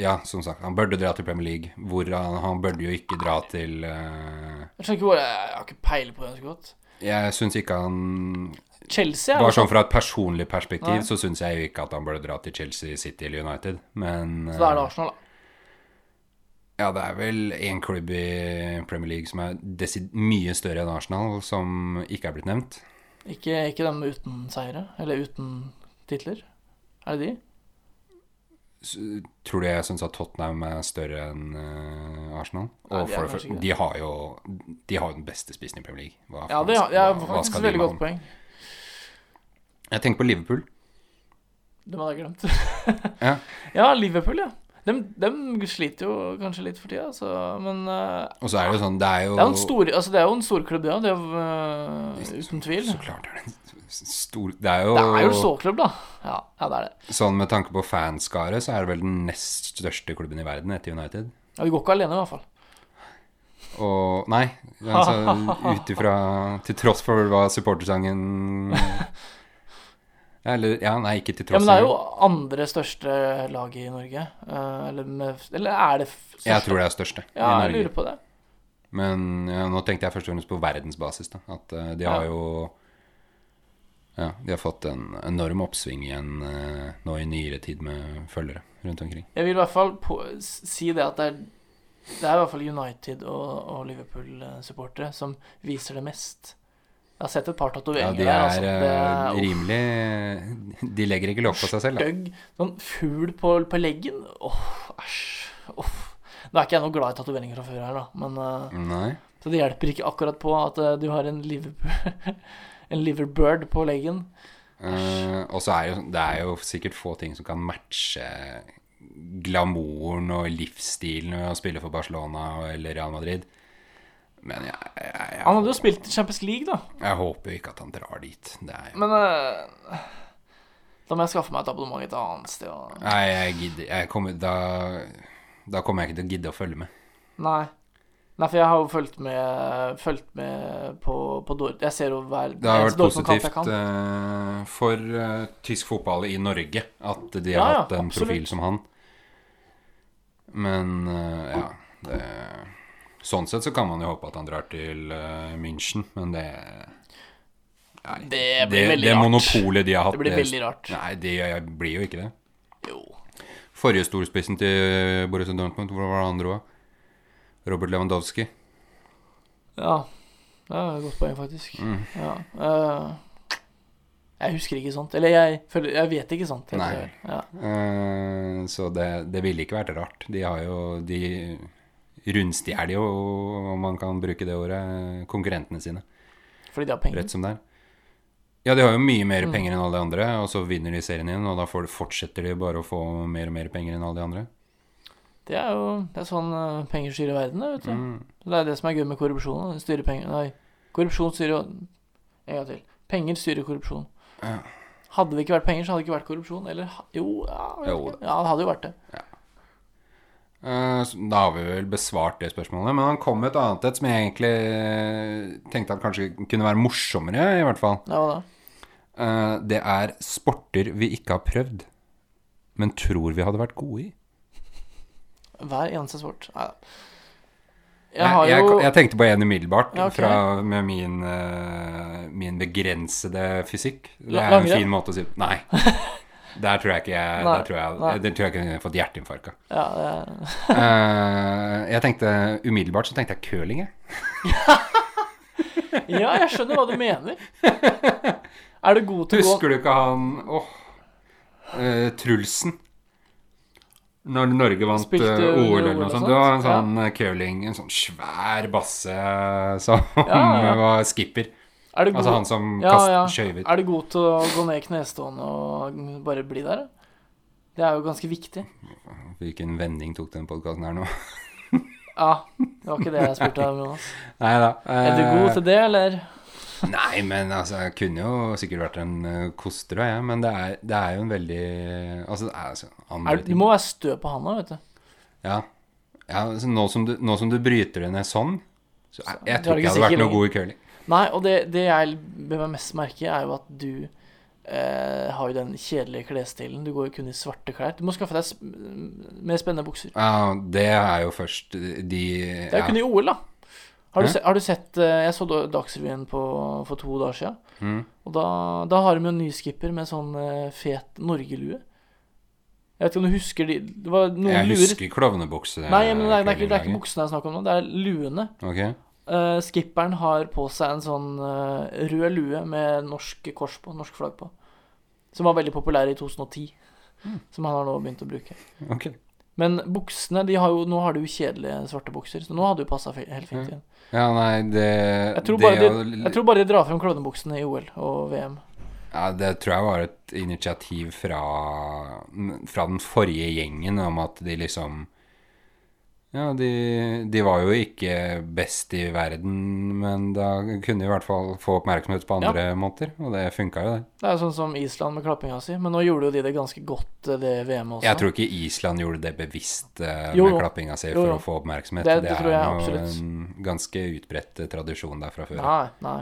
Speaker 2: ja, som sagt, han burde dra til Premier League. Hvor han, han burde jo ikke dra til eh,
Speaker 1: Jeg skjønner ikke hvor Jeg har ikke peiling på det så godt.
Speaker 2: Jeg syns ikke han
Speaker 1: Chelsea er
Speaker 2: Bare
Speaker 1: jo
Speaker 2: sånn fra et personlig perspektiv,
Speaker 1: Nei.
Speaker 2: så syns jeg jo ikke at han burde dra til Chelsea, City eller United, men
Speaker 1: Så da er det
Speaker 2: eh,
Speaker 1: Arsenal, da.
Speaker 2: Ja, det er vel én klubb i Premier League som er desi mye større enn Arsenal, som ikke er blitt nevnt.
Speaker 1: Ikke, ikke dem uten seire, eller uten titler. Er det de?
Speaker 2: S- Tror du jeg syns at Tottenham er større enn eh, Arsenal?
Speaker 1: Nei,
Speaker 2: Og
Speaker 1: de er
Speaker 2: for,
Speaker 1: kanskje ikke det.
Speaker 2: de har jo De har jo den beste spissen i Premier League. Hva
Speaker 1: Ja,
Speaker 2: faen
Speaker 1: det
Speaker 2: skal-
Speaker 1: er, det er
Speaker 2: hva- hva
Speaker 1: faktisk
Speaker 2: skal
Speaker 1: et
Speaker 2: de
Speaker 1: veldig
Speaker 2: med
Speaker 1: godt
Speaker 2: han?
Speaker 1: poeng.
Speaker 2: Jeg tenker på Liverpool.
Speaker 1: Dem hadde jeg glemt.
Speaker 2: Ja.
Speaker 1: ja, Liverpool, ja. Dem, dem sliter jo kanskje litt for tida, så Men eh,
Speaker 2: Og så er det jo sånn Det er jo
Speaker 1: det, er jo en stor, altså, det er jo en storklubb, det òg. Det er jo eh, uten tvil.
Speaker 2: Så klart er det en s- stor Det er jo,
Speaker 1: Det er jo en sårklubb, da. Ja, ja, det er det.
Speaker 2: sånn med tanke på fanskare, så er det vel den nest største klubben i verden etter United.
Speaker 1: Ja, vi går ikke alene, i hvert fall.
Speaker 2: Og Nei, altså ut ifra Til tross for hva supportersangen Eller Ja, nei, ikke til
Speaker 1: Ja,
Speaker 2: tross.
Speaker 1: Men det er jo andre største lag i Norge. eh, eller, med, eller er det f- største?
Speaker 2: jeg tror det er største
Speaker 1: ja,
Speaker 2: i
Speaker 1: jeg
Speaker 2: Norge.
Speaker 1: lurer på det.
Speaker 2: Men ja, nå tenkte jeg først og fremst på verdensbasis. da At eh, de
Speaker 1: Ja.
Speaker 2: har jo Ja, de har fått en enorm oppsving igjen eh, nå i nyere tid med følgere rundt omkring.
Speaker 1: Jeg vil i hvert fall på, s- si det at det er, det er i hvert fall United og, og Liverpool-supportere som viser det mest. Jeg har sett et par
Speaker 2: Ja,
Speaker 1: tatoveringer
Speaker 2: de
Speaker 1: der.
Speaker 2: er
Speaker 1: Altså.
Speaker 2: eh,
Speaker 1: Det er
Speaker 2: rimelig De legger ikke lokk på seg selv, da.
Speaker 1: stygg. Sånn fugl på, på leggen. Åh, æsj. Åh. Nå er ikke jeg noe glad i tatoveringer fra før her, da, men eh,
Speaker 2: Nei.
Speaker 1: Så det hjelper ikke akkurat på at eh, du har en Liverpool En liverbird på leggen.
Speaker 2: Eh, og så er jo, det er jo sikkert få ting som kan matche glamouren og livsstilen ved å spille for Barcelona eller Real Madrid. Men jeg, jeg, jeg,
Speaker 1: Han hadde jo spilt i Champions League, da.
Speaker 2: jeg håper jo ikke at han drar dit. Det er jo
Speaker 1: Men eh, da må jeg skaffe meg et abonnement et annet sted. Og...
Speaker 2: Nei, jeg gidder jeg kommer, da, da kommer jeg ikke til å gidde å følge med.
Speaker 1: Nei. Nei, for jeg har jo fulgt med, fulgt med på, på Dor Jeg ser jo hver
Speaker 2: Det har vært
Speaker 1: Dortmund-kamp jeg
Speaker 2: positivt eh, for eh, tysk fotball i Norge at de
Speaker 1: Ja,
Speaker 2: har
Speaker 1: ja,
Speaker 2: hatt en
Speaker 1: absolutt.
Speaker 2: profil som han. Men eh, ja det, Sånn sett så kan man jo håpe at han drar til eh, München, men det eh, nei,
Speaker 1: Det blir veldig
Speaker 2: det
Speaker 1: rart.
Speaker 2: monopolet de har hatt
Speaker 1: Det blir veldig rart.
Speaker 2: Nei, det blir jo ikke det.
Speaker 1: Jo.
Speaker 2: Forrige storspissen til Borussia Dortmund, hvor var det han dro? av? Robert Lewandowski.
Speaker 1: Ja. Det er et godt poeng, faktisk.
Speaker 2: Mm.
Speaker 1: Ja. eh, jeg husker ikke sånt. Eller jeg, føler, jeg vet ikke sånt. heter
Speaker 2: Nei.
Speaker 1: det vel. Ja.
Speaker 2: Eh, Så det, det ville ikke vært rart. De har jo De rundstjeler jo, om man kan bruke det ordet, konkurrentene sine,
Speaker 1: Fordi de har penger.
Speaker 2: rett som det er. Ja, de har jo mye mer penger enn alle de andre, og så vinner de serien igjen, og da får, fortsetter de bare å få mer og mer penger enn alle de andre.
Speaker 1: Det er jo det er sånn eh, penger styrer verden, det, vet du.
Speaker 2: Mm.
Speaker 1: Det er det som er gøy med korrupsjon. Det styrer penger Nei, korrupsjon styrer jo En gang til. Penger styrer korrupsjon.
Speaker 2: Ja.
Speaker 1: Hadde det ikke vært penger, så hadde det ikke vært korrupsjon. Eller ha- jo ja, jeg vet
Speaker 2: Jo
Speaker 1: ikke. ja, det hadde jo vært det.
Speaker 2: Eh, så Da har vi vel besvart det spørsmålet. Men han kom med et annet et som jeg egentlig eh, tenkte at kanskje kunne være morsommere, i hvert fall.
Speaker 1: Ja, hva da?
Speaker 2: Eh, Det er sporter vi ikke har prøvd, men tror vi hadde vært gode i.
Speaker 1: Hver eneste sport. Nei da.
Speaker 2: Nei,
Speaker 1: Jeg har
Speaker 2: jeg,
Speaker 1: jo
Speaker 2: jeg tenkte på en umiddelbart
Speaker 1: Ja, ok.
Speaker 2: fra, med min, eh, min begrensede fysikk. Det
Speaker 1: La-
Speaker 2: er en
Speaker 1: langrenn?
Speaker 2: fin måte å si Nei. Der tror jeg ikke jeg,
Speaker 1: Nei,
Speaker 2: der tror jeg,
Speaker 1: nei.
Speaker 2: der tror jeg ikke jeg har fått hjerteinfarkt av.
Speaker 1: ja, det-
Speaker 2: Eh, jeg tenkte umiddelbart så tenkte jeg curling, jeg.
Speaker 1: ja, jeg skjønner hva du mener. Er du god til å gå
Speaker 2: Husker du ikke han Åh. eh, Trulsen. Når Norge vant
Speaker 1: Spilte
Speaker 2: eh,
Speaker 1: under
Speaker 2: OL eller
Speaker 1: OL
Speaker 2: noe
Speaker 1: og
Speaker 2: sånt. Det var en
Speaker 1: sånt,
Speaker 2: sånn eh, curling, en sånn svær basse eh, som
Speaker 1: Ja, ja.
Speaker 2: var skipper.
Speaker 1: Er du god,
Speaker 2: Altså han som
Speaker 1: Ja,
Speaker 2: kast,
Speaker 1: ja.
Speaker 2: skjøvet.
Speaker 1: er du god til å gå ned i knestående og bare bli der? da? Det er jo ganske viktig.
Speaker 2: Hvilken vending tok den podkasten her nå?
Speaker 1: Ja, det var ikke det jeg spurte om, Jonas.
Speaker 2: Nei da.
Speaker 1: Er du god til det, eller?
Speaker 2: Nei, men altså, jeg kunne jo sikkert vært en eh, koster òg, jeg. Men det er, det er jo en veldig Altså, det er altså andre
Speaker 1: Er, du- du må være stø på handa, vet du.
Speaker 2: Ja. ja altså, nå, som du, nå som du bryter det ned sånn, så jeg, jeg
Speaker 1: Så- du er
Speaker 2: tror ikke jeg
Speaker 1: ikke
Speaker 2: hadde vært
Speaker 1: sikker
Speaker 2: noe god i curling.
Speaker 1: Nei, og det, det jeg bør meg mest merke, i er jo at du eh, har jo den kjedelige klesstilen. Du går jo kun i svarte klær. Du må skaffe deg sp mm, mer spennende bukser.
Speaker 2: Ja, det er jo først de
Speaker 1: Det er
Speaker 2: ja.
Speaker 1: jo kun i OL, da. Har du,
Speaker 2: Hæ?
Speaker 1: se, har du sett eh, Jeg så da- Dagsrevyen på, for to dager siden.
Speaker 2: Mm.
Speaker 1: Og da, da har de jo en ny skipper med sånn eh, fet norgelue. Jeg vet ikke om du husker de Det var noen
Speaker 2: Jeg
Speaker 1: luer
Speaker 2: husker klovnebukse.
Speaker 1: Nei, men det er, det, er ikke, det er ikke buksene det er snakk om nå, det er luene.
Speaker 2: Ok.
Speaker 1: Eh, skipperen har på seg en sånn eh, rød lue med norsk kors på, norsk flagg på. Som var veldig populær i 2010. Som han har nå begynt å bruke.
Speaker 2: ok.
Speaker 1: Men buksene de har jo, Nå har du jo kjedelige svarte bukser, så nå hadde du passa helt fint igjen.
Speaker 2: Ja, nei, det
Speaker 1: Jeg tror,
Speaker 2: det,
Speaker 1: bare
Speaker 2: å-
Speaker 1: de, jeg tror bare de drar frem klovnebuksene i OL og VM.
Speaker 2: Ja, det tror jeg var et initiativ fra, fra den forrige gjengen om at de liksom Ja, de, de var jo ikke best i verden, men da kunne de i hvert fall få oppmerksomhet på andre måter, og det funka jo, det.
Speaker 1: Det er jo sånn som Island med klappinga si, men nå gjorde jo de det ganske godt, eh, det VM-et også.
Speaker 2: Jeg tror ikke Island gjorde det bevisst eh,
Speaker 1: Jo,
Speaker 2: med
Speaker 1: jo.
Speaker 2: klappinga si
Speaker 1: Jo,
Speaker 2: for
Speaker 1: jo.
Speaker 2: å få oppmerksomhet.
Speaker 1: Det- det tror jeg
Speaker 2: jo
Speaker 1: absolutt.
Speaker 2: en ganske utbredt eh, tradisjon der fra før.
Speaker 1: Nei, nei.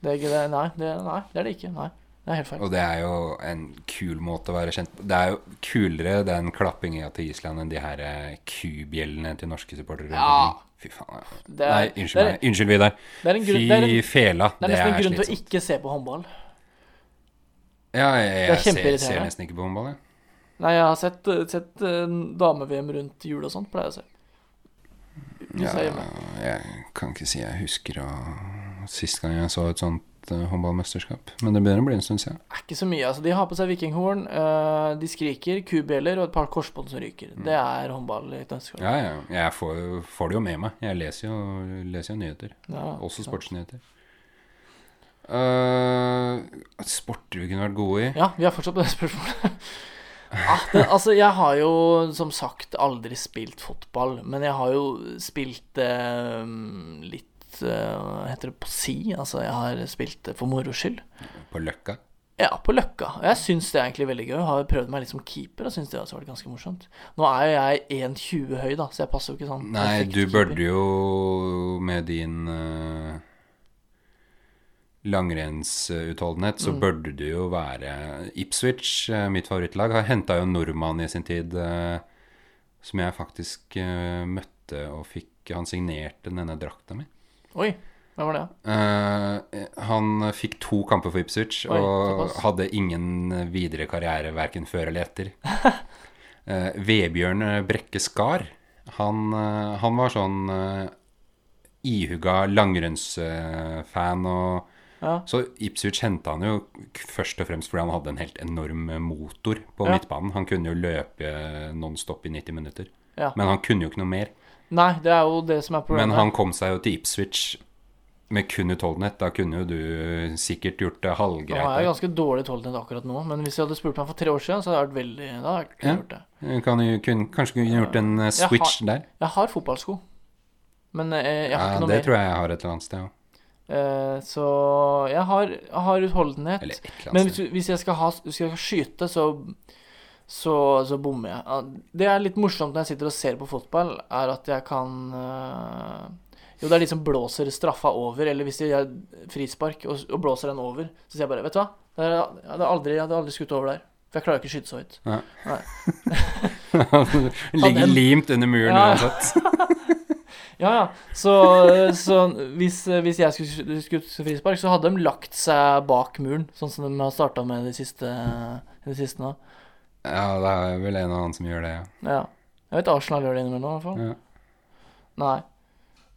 Speaker 1: Det er ikke det. Nei, det, nei, det er det ikke. Nei. Det er helt feil.
Speaker 2: Og det er jo en kul måte å være kjent på. Det er jo kulere den klappinga til Island enn de her eh, kubjellene til norske supportere. rundt
Speaker 1: Ja.
Speaker 2: omkring. Fy faen. ja.
Speaker 1: Det er,
Speaker 2: Nei,
Speaker 1: det
Speaker 2: unnskyld
Speaker 1: er,
Speaker 2: meg. Unnskyld, Vidar.
Speaker 1: det er en grunn, det er en,
Speaker 2: Fy fela.
Speaker 1: det er nesten en grunn til å ikke se på håndball.
Speaker 2: Ja, jeg,
Speaker 1: Det
Speaker 2: jeg,
Speaker 1: er
Speaker 2: ser,
Speaker 1: kjempeirriterende.
Speaker 2: ser nesten ikke på håndball, jeg.
Speaker 1: Nei, jeg har sett, eh, sett eh, dame-VM rundt jul og sånt, pleier jeg å se. Hvis jeg er hjemme.
Speaker 2: jeg kan ikke si jeg husker å- sist gang jeg så et sånt eh, håndballmesterskap. Men det begynner å bli en stund siden.
Speaker 1: Det er ikke så mye. altså. De har på seg vikinghorn, eh, de skriker, kubjeller og et par korsbånd som ryker. Det er håndball i et nøtteskall.
Speaker 2: Mm. Ja, ja. Jeg får, jo- får det jo med meg. Jeg leser jo, leser jo nyheter.
Speaker 1: Ja,
Speaker 2: Også
Speaker 1: sant.
Speaker 2: sportsnyheter. Eh, sporter vi kunne vært gode i?
Speaker 1: Ja, vi har fortsatt på det spørsmålet. Ja, det, altså, jeg har jo som sagt aldri spilt fotball, men jeg har jo spilt eh, litt eh, Hva heter det på si? Altså, jeg har spilt det for moro skyld.
Speaker 2: På Løkka?
Speaker 1: Ja, på Løkka. Og jeg syns det er egentlig veldig gøy. Jeg har prøvd meg litt som keeper og syns det har vært ganske morsomt. Nå er jo jeg 1,20 høy, da, så jeg passer jo ikke sånn.
Speaker 2: Nei,
Speaker 1: perfekt
Speaker 2: du
Speaker 1: keeper.
Speaker 2: burde jo med din uh, langrennsutholdenhet,
Speaker 1: Mm.
Speaker 2: så burde du jo være Ipswich, eh, mitt favorittlag, har henta jo en nordmann i sin tid eh, som jeg faktisk eh, møtte og fikk Han signerte denne drakta mi.
Speaker 1: Oi, hvem var det?
Speaker 2: Eh, han fikk to kamper for Ipswich
Speaker 1: Oi,
Speaker 2: og
Speaker 1: såpass.
Speaker 2: hadde ingen videre karriere verken før eller etter. Eh, Vebjørn Brekke Skar, han, eh, han var sånn eh, ihuga langrennsfan og
Speaker 1: Ja.
Speaker 2: Så Ipswich henta han jo k- først og fremst fordi han hadde en helt enorm motor på
Speaker 1: Ja.
Speaker 2: midtbanen. Han kunne jo løpe nonstop i 90 minutter.
Speaker 1: Ja.
Speaker 2: Men han kunne jo ikke noe mer.
Speaker 1: Nei, det er jo det som er
Speaker 2: Men
Speaker 1: problemet.
Speaker 2: han kom seg jo til Ipswich med kun utholdenhet, da kunne jo du sikkert gjort det
Speaker 1: Nå er
Speaker 2: halvgreit.
Speaker 1: jeg
Speaker 2: der.
Speaker 1: ganske dårlig utholdenhet akkurat nå, men hvis jeg hadde spurt meg for tre år siden, så hadde jeg vært veldig Da hadde jeg ikke
Speaker 2: Ja.
Speaker 1: gjort det.
Speaker 2: Du Kan jo, kun, kanskje kunne gjort en eh,
Speaker 1: Jeg
Speaker 2: switch der.
Speaker 1: Jeg har fotballsko, men eh, jeg har
Speaker 2: Ja,
Speaker 1: ikke noe
Speaker 2: det
Speaker 1: mer.
Speaker 2: tror jeg jeg har et eller annet sted òg.
Speaker 1: Eh, Så jeg har, jeg har utholdenhet.
Speaker 2: Eller et eller
Speaker 1: Men
Speaker 2: annet
Speaker 1: hvis,
Speaker 2: sted.
Speaker 1: du- hvis jeg skal, ha, hvis jeg skal skyte, så, så, så bommer jeg. Ah, Det er litt morsomt når jeg sitter og ser på fotball, er at jeg kan eh, Jo, det er de som blåser straffa over, eller hvis de gjør frispark og, og blåser den over, så sier jeg bare Vet du hva, det er, jeg, hadde aldri, jeg hadde aldri skutt over der. For jeg klarer ikke å skyte så høyt.
Speaker 2: Ligger
Speaker 1: den-
Speaker 2: limt under muren
Speaker 1: Ja.
Speaker 2: uansett.
Speaker 1: Ja, ja. Så, så hvis, hvis jeg skulle skutt frispark, så hadde de lagt seg bak muren, sånn som de har starta med de siste, de siste nå.
Speaker 2: Ja, det er vel en og annen som gjør det, ja.
Speaker 1: Ja. Jeg vet Arsenal gjør det innimellom, i hvert fall.
Speaker 2: ja.
Speaker 1: Nei.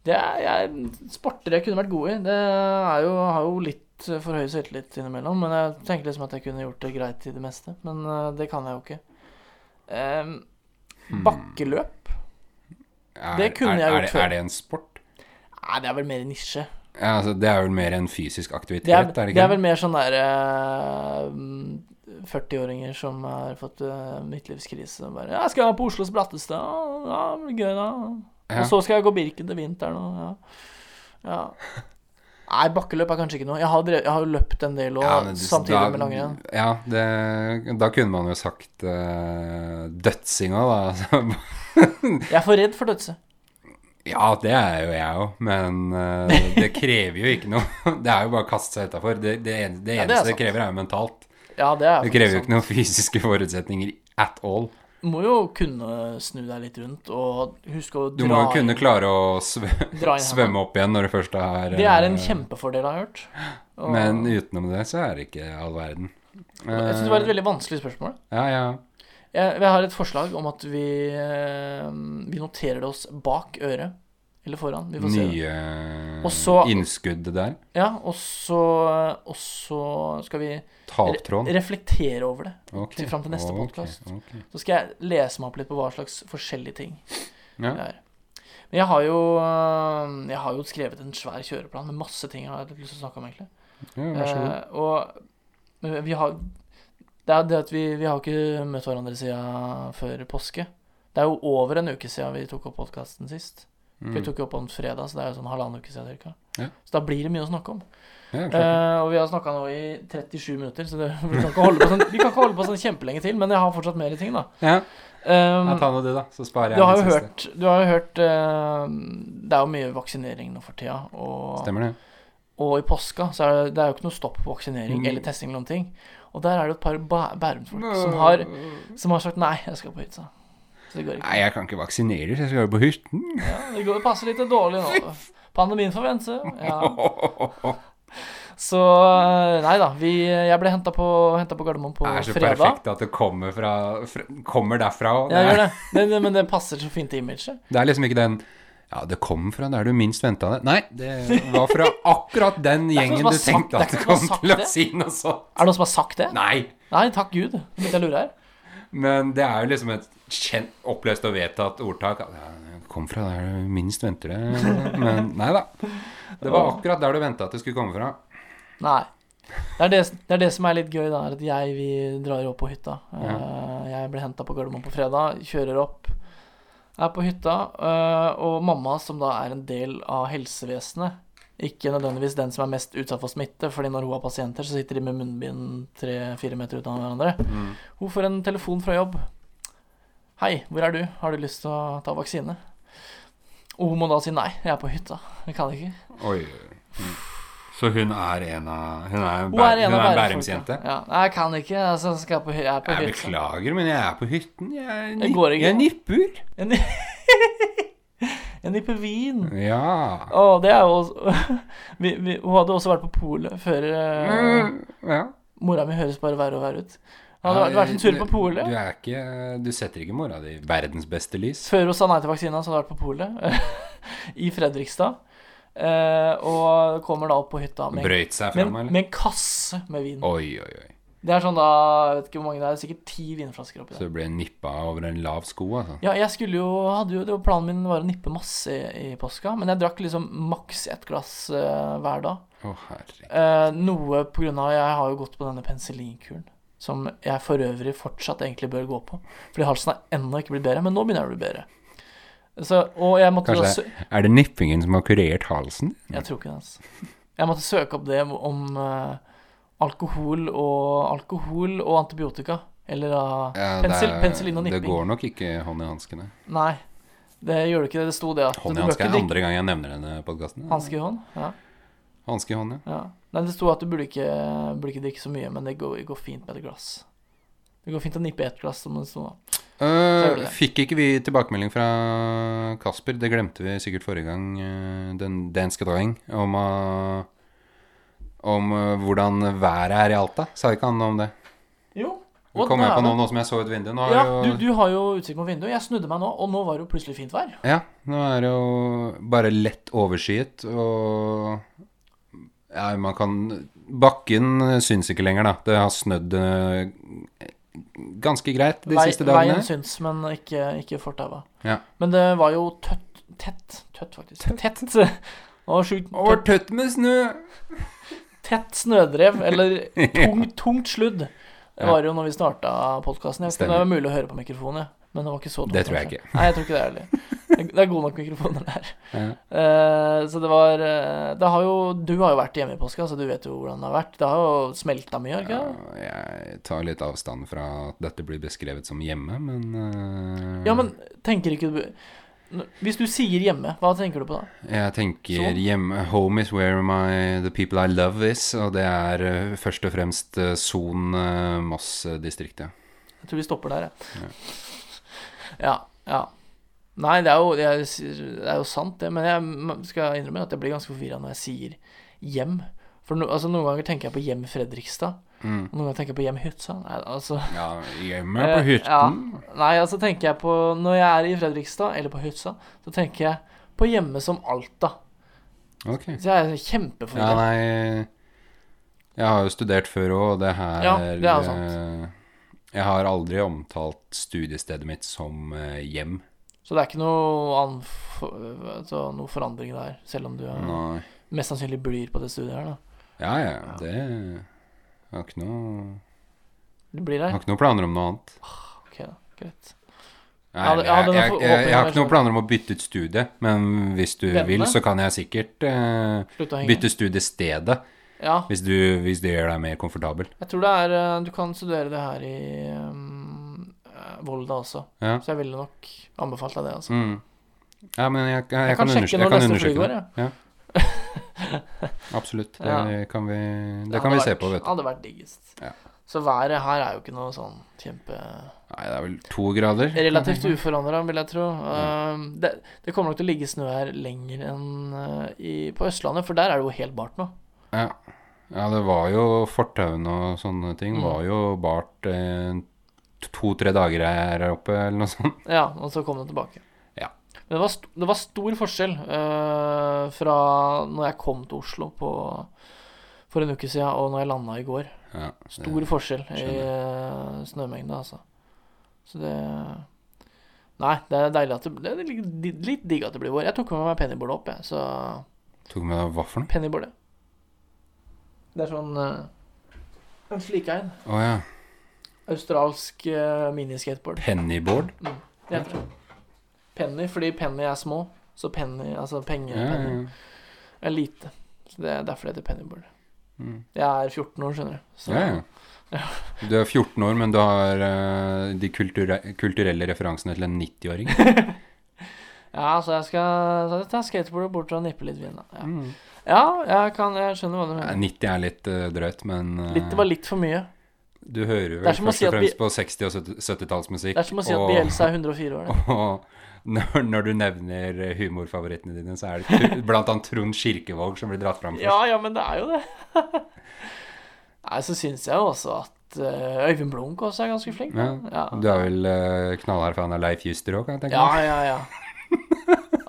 Speaker 1: Det er jeg, sporter jeg kunne vært god i. Det er jo, har jo litt for høy selvtillit innimellom, men jeg tenker liksom at jeg kunne gjort det greit i det meste. Men eh, det kan jeg jo ikke. Ehm,
Speaker 2: Hmm.
Speaker 1: bakkeløp?
Speaker 2: Er,
Speaker 1: Det kunne
Speaker 2: er,
Speaker 1: jeg
Speaker 2: er
Speaker 1: gjort
Speaker 2: det-
Speaker 1: før.
Speaker 2: Er det en sport?
Speaker 1: Nei, det er vel mer nisje.
Speaker 2: Ja, altså, det er vel mer en fysisk aktivitet,
Speaker 1: Det er,
Speaker 2: er, det
Speaker 1: det
Speaker 2: ikke?
Speaker 1: er vel mer sånn der eh, 40-åringer som har fått eh, midtlivskrise og bare 'Jeg skal på Oslos bratteste. Å, Ja, det blir gøy, da.'
Speaker 2: Ja.
Speaker 1: Og så skal jeg gå Birken til vinteren og ja. ja. Nei, bakkeløp er kanskje ikke noe. Jeg har, drev, jeg har jo løpt en del òg,
Speaker 2: Ja, men du-
Speaker 1: samtidig
Speaker 2: da-
Speaker 1: med langrenn.
Speaker 2: Ja, det, da kunne man jo sagt uh, dødsinga, da. altså.
Speaker 1: Jeg er for redd for dødse.
Speaker 2: ja, det er jo jeg òg, men eh, det krever jo ikke noe. Det er jo bare å kaste seg utafor. Det, det, en- det
Speaker 1: Ja, det er
Speaker 2: eneste det,
Speaker 1: sant.
Speaker 2: krever, er jo mentalt.
Speaker 1: Ja, det er
Speaker 2: Det
Speaker 1: faktisk
Speaker 2: krever jo
Speaker 1: sant.
Speaker 2: ikke noen fysiske forutsetninger at all.
Speaker 1: Må jo kunne snu deg litt rundt og huske å
Speaker 2: Du må
Speaker 1: dra
Speaker 2: jo kunne klare å svø
Speaker 1: Dra inn
Speaker 2: svømme opp igjen når du først er
Speaker 1: Det er en
Speaker 2: eh,
Speaker 1: kjempefordel, har jeg hørt. Og-
Speaker 2: Men eh, utenom det så er det ikke all verden.
Speaker 1: jeg syns det var et veldig vanskelig spørsmål.
Speaker 2: Ja, ja.
Speaker 1: Jeg, jeg har et forslag om at vi, eh, vi noterer det oss bak øret. Eller foran. Vi får se. det.
Speaker 2: Nye
Speaker 1: Og så-
Speaker 2: innskudd der.
Speaker 1: Ja, og så, og så skal vi
Speaker 2: Ta opp tråden.
Speaker 1: reflektere over det.
Speaker 2: Ok,
Speaker 1: til- fram til neste
Speaker 2: ok,
Speaker 1: podcast.
Speaker 2: ok.
Speaker 1: Så skal jeg lese meg opp litt på hva slags forskjellige ting
Speaker 2: Ja.
Speaker 1: det er. Men jeg har jo, eh, jeg har jo skrevet en svær kjøreplan med masse ting jeg har litt lyst til å snakke om, egentlig.
Speaker 2: ja, vær så god.
Speaker 1: Eh, og men vi har Det er det at vi, vi har ikke møtt hverandre siden før påske. Det er jo over en uke siden vi tok opp podkasten sist. For Vi
Speaker 2: Mm.
Speaker 1: tok jo opp på en fredag, så det er jo sånn halvannen uke siden cirka.
Speaker 2: Ja.
Speaker 1: Så da blir det mye å snakke om.
Speaker 2: Ja, klart.
Speaker 1: Eh, og vi har snakka nå i 37 minutter, så det, vi, kan ikke holde på sånn, vi kan ikke holde på sånn kjempelenge til. Men jeg har fortsatt mer ting, da.
Speaker 2: ja.
Speaker 1: Um,
Speaker 2: ja, ta nå du, da. Så sparer jeg
Speaker 1: du har jo
Speaker 2: min siste.
Speaker 1: hørt, du har jo hørt eh, Det er jo mye vaksinering nå for tida. Og,
Speaker 2: Stemmer det?
Speaker 1: og i påska så er det, det er jo ikke noe stopp på vaksinering
Speaker 2: Mm.
Speaker 1: eller testing eller noen ting. Og der er det jo et par bæ- Bærum-folk som, har- som har sagt nei, jeg skal på hytta. Så det går ikke.
Speaker 2: Nei, jeg kan ikke vaksinere, så jeg skal jo på Hyrten.
Speaker 1: Ja, det går, passer litt dårlig nå. Pandemien får vente. Ja. Så eh, nei da. Vi, jeg ble henta på, hentet på Gardermoen på
Speaker 2: Det er så
Speaker 1: fredag.
Speaker 2: perfekt at det kommer, fra, fra, kommer derfra. og
Speaker 1: Ja,
Speaker 2: det,
Speaker 1: gjør
Speaker 2: er,
Speaker 1: det. Det, det. Men det passer så fint til imaget.
Speaker 2: det er liksom ikke den Ja, det kom fra der du minst venta det. Nei, det var fra akkurat den
Speaker 1: er ikke
Speaker 2: gjengen
Speaker 1: noen
Speaker 2: du
Speaker 1: som har
Speaker 2: tenkte
Speaker 1: sagt-
Speaker 2: at
Speaker 1: det er
Speaker 2: du
Speaker 1: ikke noen
Speaker 2: kom
Speaker 1: som har
Speaker 2: til å
Speaker 1: sagt
Speaker 2: si noe sånt.
Speaker 1: Er det noen som har sagt det?
Speaker 2: Nei.
Speaker 1: Nei, takk gud. Nå begynte jeg å lure her.
Speaker 2: Men det er jo liksom et kjent, oppløst og vedtatt ordtak. at, Ja, det kom fra der du minst venter det. Men nei da. Det var akkurat der du venta at det skulle komme fra.
Speaker 1: Nei. Det er det, det er det som er litt gøy, da, er at jeg vi drar opp på hytta. Eh, Jeg ble henta på Gardermoen på fredag, kjører opp, er på hytta. eh, og mamma, som da er en del av helsevesenet, ikke nødvendigvis den som er mest utsatt for smitte, fordi når hun har pasienter, så sitter de med munnbind tre-fire meter unna hverandre. Hun får en telefon fra jobb. Hei, hvor er du? Har du lyst til å ta vaksine? Og hun må da si nei, jeg er på hytta. Jeg kan ikke.
Speaker 2: Oi. Mm. Så hun er en av Hun
Speaker 1: Hun
Speaker 2: er,
Speaker 1: er en
Speaker 2: hun
Speaker 1: av
Speaker 2: er en
Speaker 1: Bærums-folka.
Speaker 2: Bærumsjente?
Speaker 1: Ja. Nei, Jeg kan ikke. Altså, skal jeg, på, hy- jeg er på
Speaker 2: Jeg
Speaker 1: hytta.
Speaker 2: beklager, men jeg er på hytten. Jeg,
Speaker 1: Det går
Speaker 2: nipp,
Speaker 1: ikke.
Speaker 2: jeg nipper.
Speaker 1: En, en nippe vin.
Speaker 2: Ja.
Speaker 1: Å, det er jo også vi, vi, Hun hadde også vært på polet før eh,
Speaker 2: Mm, ja.
Speaker 1: Mora mi høres bare verre og verre ut. Hun hadde vært- vært en tur på
Speaker 2: Du,
Speaker 1: polet.
Speaker 2: er ikke, du setter ikke mora di i verdens beste lys.
Speaker 1: Før hun sa nei til vaksina, så hadde hun vært på polet. I Fredrikstad. Eh, og kommer da opp på hytta med,
Speaker 2: Brøyt seg
Speaker 1: med,
Speaker 2: fram, eller?
Speaker 1: med en kasse med vin.
Speaker 2: Oi, oi, oi.
Speaker 1: Det er sånn da, jeg vet ikke hvor mange det er, sikkert ti vinflasker oppi
Speaker 2: Så
Speaker 1: der.
Speaker 2: du ble nippa over en lav sko, altså.
Speaker 1: Ja, jeg skulle jo, hadde jo, det var planen min var å nippe masse i, i påska, men jeg drakk liksom maks ett glass eh, hver dag.
Speaker 2: Å, herregud.
Speaker 1: Eh, noe på grunn av jeg har jo gått på denne penicillinkuren, som jeg for øvrig fortsatt egentlig bør gå på. Fordi halsen har ennå ikke blitt bedre, men nå begynner jeg å bli bedre. Så, og jeg måtte da sø-
Speaker 2: Kanskje Er det nippingen som har kurert halsen?
Speaker 1: Jeg tror ikke det, altså. Jeg måtte søke opp det om eh, alkohol og alkohol og antibiotika. Eller da
Speaker 2: Ja,
Speaker 1: pensil,
Speaker 2: det er-
Speaker 1: penicillin og
Speaker 2: Det
Speaker 1: nipping.
Speaker 2: går nok ikke hånd i hanskene.
Speaker 1: Nei, det gjør det ikke. Det sto det at
Speaker 2: Hånd
Speaker 1: du
Speaker 2: i
Speaker 1: bør
Speaker 2: hanske
Speaker 1: ikke
Speaker 2: er
Speaker 1: drikke-
Speaker 2: andre gang jeg nevner denne podkasten.
Speaker 1: Hanske i hånd? Ja.
Speaker 2: Hanske i hånd, ja.
Speaker 1: ja. Nei, det sto at du burde ikke, burde ikke drikke så mye, men det går, går fint med et glass. Det går fint å nippe ett glass, som det sto. gjør du
Speaker 2: Øh,
Speaker 1: det.
Speaker 2: fikk ikke vi tilbakemelding fra Kasper, det glemte vi sikkert forrige gang, øh, den danske dagen, om, øh, om øh, hvordan været er i Alta? Sa ikke han noe om det?
Speaker 1: Jo.
Speaker 2: Nå kom jeg på noe nå som jeg så ut vinduet. Nå er
Speaker 1: Ja,
Speaker 2: det
Speaker 1: du,
Speaker 2: jo,
Speaker 1: du har jo utsikt mot vinduet. Jeg snudde meg nå, og nå var det jo plutselig fint vær.
Speaker 2: Ja, nå er det jo bare lett overskyet, og ja, man kan Bakken syns ikke lenger, da. Det har snødd øh, ganske greit de
Speaker 1: Vei-
Speaker 2: siste dagene.
Speaker 1: Veien syns, men ikke, ikke fortauet.
Speaker 2: Ja.
Speaker 1: Men det var jo tøtt Tett, tøtt faktisk. Tett. Det var sjukt
Speaker 2: Og var
Speaker 1: tøtt,
Speaker 2: tøtt med snø.
Speaker 1: tett snødrev, eller tung, tungt sludd. Det
Speaker 2: Ja.
Speaker 1: var jo når vi starta podkasten. Det
Speaker 2: Stemmer.
Speaker 1: var mulig å høre på mikrofonen, ja. men det var ikke så tungt.
Speaker 2: Det tror jeg
Speaker 1: kanskje. Nei, jeg tror ikke det heller. Det er- Det er gode nok mikrofoner der.
Speaker 2: Ja.
Speaker 1: Eh, så det var eh, Det har jo Du har jo vært hjemme i påska, så du vet jo hvordan det har vært. Det har jo smelta mye, har det ikke det?
Speaker 2: Jeg tar litt avstand fra at dette blir beskrevet som hjemme, men eh,
Speaker 1: Ja, men tenker ikke du Hvis du sier hjemme, hva tenker du på da?
Speaker 2: Jeg tenker
Speaker 1: Sånn.
Speaker 2: hjemme Home is where my, the people I love is, og det er eh, først og fremst eh, Son eh, Moss-distriktet.
Speaker 1: Jeg tror vi stopper der, jeg. Ja. ja. Nei, det er, jo, jeg, sier- det er jo sant, det. Men jeg skal innrømme at jeg blir ganske forvirra når jeg sier hjem. For no, altså, noen ganger tenker jeg på hjem Fredrikstad.
Speaker 2: Mm.
Speaker 1: Og noen ganger tenker jeg på hjem Hytsa. Nei, altså,
Speaker 2: Ja, hjemme på
Speaker 1: eh,
Speaker 2: hytten.
Speaker 1: ja. Nei, altså tenker jeg på Når jeg er i Fredrikstad, eller på Hytsa, så tenker jeg på hjemme som Alta.
Speaker 2: Ok.
Speaker 1: Så jeg er
Speaker 2: Ja,
Speaker 1: kjempeforvirra.
Speaker 2: nei Jeg har jo studert før òg, og det her
Speaker 1: Ja, det er
Speaker 2: eh, Jeg har aldri omtalt studiestedet mitt som eh, hjem.
Speaker 1: så det er ikke noe, anf- altså, noe forandring der, selv om du er,
Speaker 2: Nei.
Speaker 1: mest sannsynlig blir på det studiet her, da.
Speaker 2: Ja, ja, det jeg har ikke noe,
Speaker 1: Du blir
Speaker 2: jeg
Speaker 1: der?
Speaker 2: har ikke noe planer om noe annet.
Speaker 1: Ok, da. Greit.
Speaker 2: Nei,
Speaker 1: Ja, det-
Speaker 2: jeg,
Speaker 1: ja, den
Speaker 2: jeg,
Speaker 1: er
Speaker 2: jeg,
Speaker 1: for-
Speaker 2: jeg, har
Speaker 1: åpen,
Speaker 2: ikke noen
Speaker 1: kanskje.
Speaker 2: planer om å bytte ut studie, men hvis du
Speaker 1: Vent
Speaker 2: vil,
Speaker 1: med.
Speaker 2: så kan jeg sikkert eh,
Speaker 1: Slutt å henge.
Speaker 2: bytte studiestedet,
Speaker 1: Ja,
Speaker 2: hvis, du, hvis det gjør deg mer komfortabel.
Speaker 1: jeg tror det er eh, Du kan studere det her i ehm, eh, Volda også,
Speaker 2: Ja.
Speaker 1: så jeg ville nok anbefalt deg det. altså.
Speaker 2: Mm. Ja, men jeg, jeg, jeg,
Speaker 1: Jeg kan
Speaker 2: kan,
Speaker 1: sjekke
Speaker 2: undersøke,
Speaker 1: når
Speaker 2: jeg kan
Speaker 1: neste fly
Speaker 2: undersøke
Speaker 1: går,
Speaker 2: det. Ja. Absolutt. Det
Speaker 1: Ja.
Speaker 2: kan vi, det
Speaker 1: hadde
Speaker 2: kan vi
Speaker 1: vært,
Speaker 2: se på, vet du.
Speaker 1: Hadde vært diggest.
Speaker 2: Ja.
Speaker 1: Så været her er jo ikke noe sånn kjempe
Speaker 2: Nei, det er vel to grader. kan jeg
Speaker 1: Relativt
Speaker 2: tenke meg.
Speaker 1: uforandra, vil jeg tro.
Speaker 2: Mm.
Speaker 1: Ehm, det, det kommer nok til å ligge snø her lenger enn eh, i, på Østlandet, for der er det jo helt bart nå.
Speaker 2: Ja. ja, det var jo fortauene og sånne ting.
Speaker 1: Mm.
Speaker 2: Var jo bart eh, to-tre dager her oppe, eller noe sånt.
Speaker 1: Ja, og så kom den tilbake.
Speaker 2: Ja.
Speaker 1: Men det var, st det var stor forskjell eh, fra når jeg kom til Oslo på, for en uke siden, og når jeg landa i går.
Speaker 2: Ja, det-
Speaker 1: Stor forskjell i eh, snømengde, altså. Så det Nei, det er deilig at det, det er litt, di- litt digg at det blir vår. Jeg tok med meg pennybordet opp, jeg. Så
Speaker 2: Tok med deg hva for noe?
Speaker 1: pennybordet. Det er sånn uh, en slikein.
Speaker 2: Å ja.
Speaker 1: Australsk eh, miniskateboard.
Speaker 2: Pennyboard?
Speaker 1: Det heter det. Penny, fordi penny er små. Så penny, altså penger,
Speaker 2: Ja, ja,
Speaker 1: penny,
Speaker 2: ja.
Speaker 1: er lite. Så det er derfor det heter pennyboard.
Speaker 2: Mm.
Speaker 1: Jeg er 14 år, skjønner du. Så
Speaker 2: ja, ja. Du er 14 år, men du har eh, de kulture kulturelle referansene til en 90-åring.
Speaker 1: Ja, så jeg skal så jeg tar skateboardet bort og nippe litt vin, da. Ja,
Speaker 2: Mm.
Speaker 1: ja jeg, kan, jeg skjønner hva du
Speaker 2: Ja,
Speaker 1: mener.
Speaker 2: 90 er litt eh, drøyt, men eh,
Speaker 1: Litt, det var litt for mye.
Speaker 2: du hører
Speaker 1: Det er
Speaker 2: vel
Speaker 1: som å
Speaker 2: først
Speaker 1: si
Speaker 2: og
Speaker 1: at
Speaker 2: fremst på 60- og 70- 70-tallsmusikk.
Speaker 1: Det er som å si at
Speaker 2: og-
Speaker 1: Bielsa er 104 år. det.
Speaker 2: Og når, når du nevner eh, humorfavorittene dine, så er det tr- blant annet Trond Kirkevåg som blir dratt fram først.
Speaker 1: Ja, ja, men det er jo det. Nei, så syns jeg jo også at eh, Øyvind Blunk også er ganske flink. da.
Speaker 2: Ja. Du er vel eh, knallhard fan av Leif Juster òg, kan jeg tenke
Speaker 1: Ja,
Speaker 2: meg?
Speaker 1: ja, ja.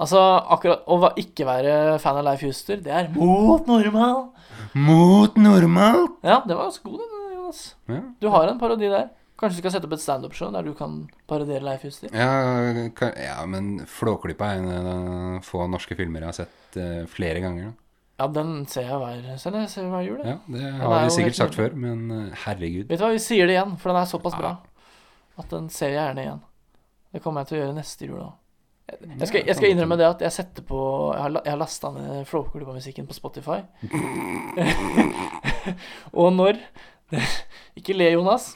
Speaker 1: Altså, akkurat å va- ikke være fan av Leif Juster, det er mot normal.
Speaker 2: Mot normalt!
Speaker 1: Ja, det var ganske god, den. Jonas. ass.
Speaker 2: Ja.
Speaker 1: Du har en parodi der. Kanskje du skal sette opp et standup-show der du kan parodiere Leif Juster?
Speaker 2: Ja, kan, ja, men Flåklypa er en av de få norske filmer jeg har sett eh, flere ganger. Da.
Speaker 1: Ja, den ser jeg hver, ser jeg ser hver jul. jeg.
Speaker 2: Ja, Det
Speaker 1: er
Speaker 2: har
Speaker 1: jo
Speaker 2: vi sikkert
Speaker 1: helt
Speaker 2: sagt før, men eh, herregud.
Speaker 1: Vet du hva, vi sier det igjen, for den er såpass bra at den ser jeg gjerne igjen. Det kommer jeg til å gjøre neste jul òg. Jeg skal, jeg skal innrømme det at jeg setter på Jeg har, la- jeg har lasta ned Flåklypa-musikken på Spotify. og når Ikke le, Jonas.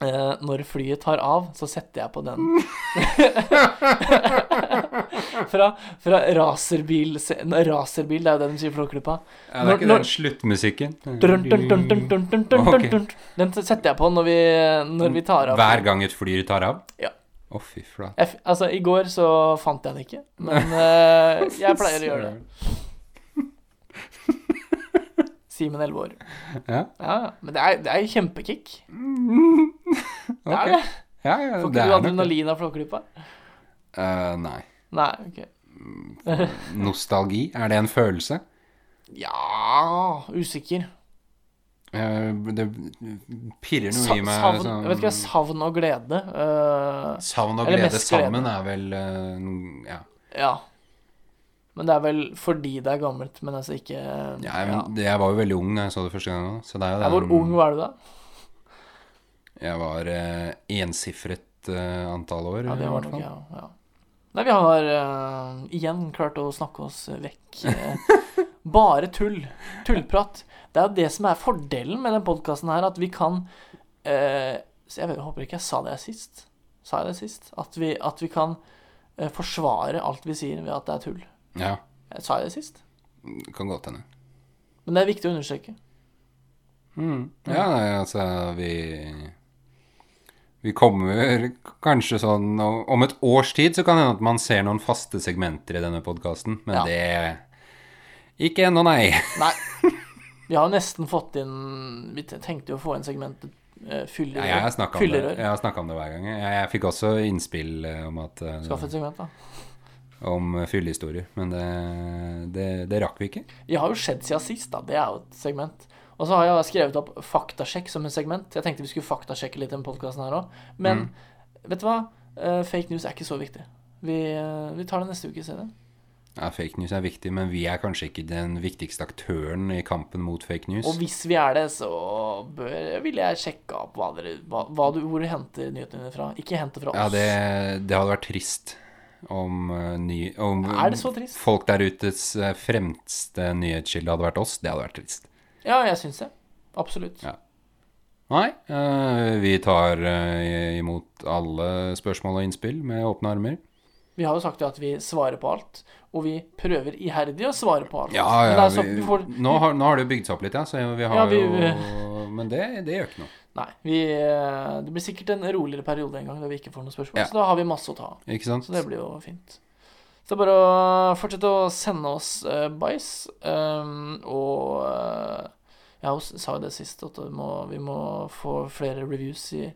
Speaker 1: Eh, når flyet tar av, så setter jeg på den. fra fra racerbil nei, Racerbil, det er jo det de sier i Flåklypa.
Speaker 2: Ja, det er
Speaker 1: Når-
Speaker 2: ikke
Speaker 1: når-
Speaker 2: den sluttmusikken.
Speaker 1: Dun, dun, dun, dun, dun, dun, dun,
Speaker 2: Ok.
Speaker 1: dun. Den setter jeg på når vi, når vi tar av.
Speaker 2: Hver gang et fly tar av?
Speaker 1: Ja.
Speaker 2: Å, fy flate.
Speaker 1: Jeg, f- altså, I går så fant jeg den ikke, men eh, jeg pleier å gjøre det. Simen 11 år.
Speaker 2: Ja,
Speaker 1: Ja, ja. Men det er, det er kjempekick. Det er
Speaker 2: ok.
Speaker 1: det.
Speaker 2: Ja, ja,
Speaker 1: Får
Speaker 2: det
Speaker 1: ikke du
Speaker 2: er nok det.
Speaker 1: adrenalin av Flåklypa?
Speaker 2: Eh, nei.
Speaker 1: Nei, ok.
Speaker 2: Nostalgi, er det en følelse?
Speaker 1: Ja Usikker.
Speaker 2: Eh, det pirrer
Speaker 1: Sa,
Speaker 2: noe i meg.
Speaker 1: savn,
Speaker 2: sånn-
Speaker 1: jeg vet ikke, hva, savn og glede. eh,
Speaker 2: Savn og
Speaker 1: Eller
Speaker 2: glede
Speaker 1: mest glede.
Speaker 2: sammen er vel eh, ja.
Speaker 1: ja. Men det er vel fordi det er gammelt, men altså ikke
Speaker 2: Ja, jeg, jeg var jo veldig ung da jeg så det første gang òg, så det er jo
Speaker 1: Ja,
Speaker 2: det
Speaker 1: Hvor ung var du da?
Speaker 2: Jeg var eh, ensifret eh, antall år.
Speaker 1: Ja, det
Speaker 2: i
Speaker 1: var nok,
Speaker 2: hvert fall.
Speaker 1: ja. ja. Nei, vi har eh, igjen klart å snakke oss vekk. Eh, bare tull. Tullprat. Det er jo det som er fordelen med den podkasten her, at vi kan eh, så Jeg vet, jeg håper ikke jeg sa det sist. Sa jeg det sist? At vi, at vi kan eh, forsvare alt vi sier ved at det er tull.
Speaker 2: ja.
Speaker 1: Eh, Sa jeg det sist?
Speaker 2: det Kan godt hende.
Speaker 1: Men det er viktig å understreke. Mm,
Speaker 2: Ja, nei, altså vi Vi kommer kanskje sånn og- Om et års tid så kan det hende at man ser noen faste segmenter i denne podkasten, men
Speaker 1: Ja.
Speaker 2: det Ikke ennå, nei.
Speaker 1: Nei. Vi har nesten fått inn Vi tenkte jo å få inn segmentet eh,
Speaker 2: Ja,
Speaker 1: fyllerør.
Speaker 2: jeg har snakka om, det-
Speaker 1: Fyllerør.
Speaker 2: jeg har snakket om det hver gang. Jeg, jeg fikk også innspill eh, om at eh,
Speaker 1: Skaff et segment, da.
Speaker 2: Om eh, fyllehistorier, men det, det, det rakk vi ikke.
Speaker 1: Jeg har jo skjedd siden sist, da. Det er jo et segment. Og så har jeg skrevet opp faktasjekk som et segment. Jeg tenkte vi skulle faktasjekke litt i den podkasten her òg. Men
Speaker 2: Mm.
Speaker 1: vet du hva? Eh, fake news er ikke så viktig. Vi, eh, vi tar det neste uke i stedet.
Speaker 2: Ja, Fake news er viktig, men vi er kanskje ikke den viktigste aktøren i kampen mot fake news.
Speaker 1: Og hvis vi er det, så bør, vil jeg sjekke opp hva dere, hva, hva du, hvor du henter nyhetene dine fra. Ikke hente fra oss.
Speaker 2: Ja, det, det hadde vært trist om, eh, ny, om
Speaker 1: Er det så trist?
Speaker 2: folk der utes eh, fremste nyhetskilde hadde vært oss. Det hadde vært trist.
Speaker 1: ja jeg syns det. Absolutt.
Speaker 2: Ja. Nei, eh, vi tar eh, imot alle spørsmål og innspill med åpne armer.
Speaker 1: Vi har jo sagt jo at vi svarer på alt, og vi prøver iherdig å svare på alt.
Speaker 2: Ja,
Speaker 1: Men det
Speaker 2: ja,
Speaker 1: er
Speaker 2: vi,
Speaker 1: sånn, vi får,
Speaker 2: nå, har, nå har det jo bygd seg opp litt, ja, så vi har
Speaker 1: Ja, vi-
Speaker 2: jo Men det, det gjør ikke noe.
Speaker 1: Nei. Vi, eh, det blir sikkert en roligere periode en gang da vi ikke får noen spørsmål.
Speaker 2: Ja.
Speaker 1: Så da har vi masse å ta av.
Speaker 2: Ikke sant?
Speaker 1: Så det blir jo fint. Så det er bare å fortsette å sende oss uh, bæsj. Um, og eh, jeg har jo s- sa jo det sist, at vi må, vi må få flere reviews i,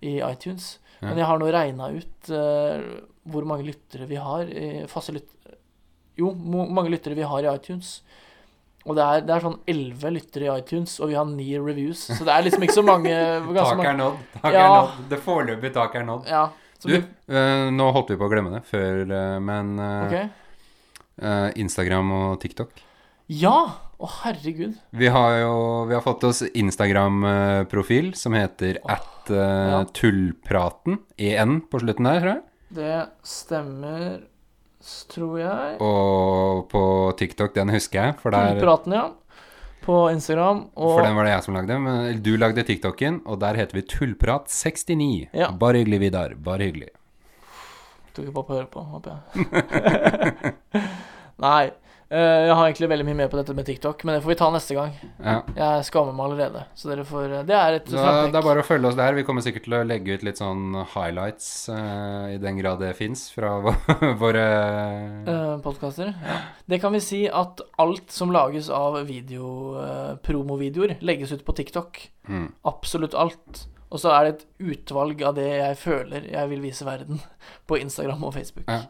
Speaker 1: i iTunes.
Speaker 2: Ja.
Speaker 1: Men jeg har nå regna ut eh, hvor mange lyttere vi har i faste lyt... Jo, hvor mange lyttere vi har i iTunes. Og det er, det er sånn elleve lyttere i iTunes, og vi har ni reviews. Så det er liksom ikke så mange ganske
Speaker 2: Tak
Speaker 1: mange,
Speaker 2: er nådd. Tak er
Speaker 1: Ja.
Speaker 2: nådd. Det foreløpige tak er nådd.
Speaker 1: Ja. Så
Speaker 2: Du,
Speaker 1: vi,
Speaker 2: eh, nå holdt vi på å glemme det før, eh, men eh,
Speaker 1: ok.
Speaker 2: eh, Instagram og TikTok.
Speaker 1: Ja! Å, herregud.
Speaker 2: Vi har jo vi har fått oss Instagram-profil som heter at eh,
Speaker 1: ja.
Speaker 2: tullpraten, en på slutten der, tror jeg.
Speaker 1: Det stemmer, s- tror jeg.
Speaker 2: Og på TikTok, den husker jeg, for, der,
Speaker 1: Tullpraten, ja. På Instagram. Og
Speaker 2: for den var det jeg som lagde. Men eller du lagde TikToken, og der heter vi Tullprat69.
Speaker 1: Ja.
Speaker 2: Bare hyggelig, Vidar. Bare hyggelig.
Speaker 1: Tok ikke pappa høre på, håper jeg. Nei. eh, Jeg har egentlig veldig mye mer på dette med TikTok, men det får vi ta neste gang.
Speaker 2: Ja.
Speaker 1: Jeg skammer meg allerede. Så dere får eh, Det er et
Speaker 2: Så det er
Speaker 1: frampekk.
Speaker 2: bare å følge oss der. Vi kommer sikkert til å legge ut litt sånn highlights, eh, i den grad det fins, fra vå- våre
Speaker 1: eh, Podkaster. Ja. Det kan vi si at alt som lages av video, eh, promovideoer, legges ut på TikTok.
Speaker 2: mm.
Speaker 1: absolutt alt. Og så er det et utvalg av det jeg føler jeg vil vise verden på Instagram og Facebook.
Speaker 2: Ja.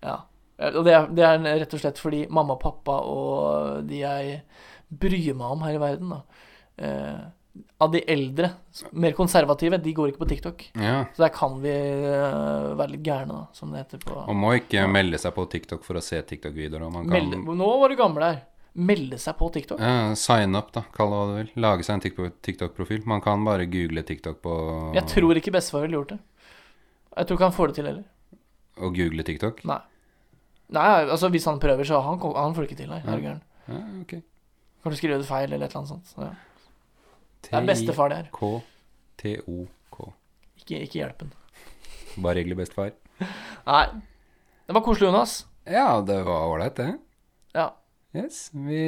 Speaker 1: Ja. Eh, Og det er, det er rett og slett fordi mamma og pappa og de jeg bryr meg om her i verden, da, eh, av de eldre, s- mer konservative, de går ikke på TikTok.
Speaker 2: Ja.
Speaker 1: Så der kan vi eh, være litt gærne, da, som det heter på
Speaker 2: Man må ikke melde seg på TikTok for å se TikTok-videoer. og Man kan
Speaker 1: Melde, Nå var du gammel her. Melde seg på TikTok.
Speaker 2: Ja, sign up, da. Kall det hva du vil. Lage seg en TikTok- TikTok-profil. Man kan bare google TikTok på
Speaker 1: Jeg tror ikke bestefar ville gjort det. Jeg tror ikke han får det til heller.
Speaker 2: Og google TikTok.
Speaker 1: Nei. Nei, altså Hvis han prøver, så han, kom- han får det ikke til. Her. Er du gæren?
Speaker 2: Ja, ok.
Speaker 1: Kan du skrive det feil, eller et eller annet sånt. Ja. Det er bestefar, det her.
Speaker 2: K-T-O-K.
Speaker 1: Ikke, ikke hjelp ham.
Speaker 2: Bare hyggelig, bestefar.
Speaker 1: Nei. Det var koselig, Jonas.
Speaker 2: Ja, det var ålreit, det.
Speaker 1: Ja.
Speaker 2: Yes, vi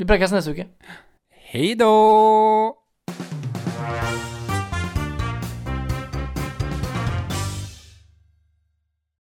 Speaker 1: Vi prekes neste uke.
Speaker 2: Hei då!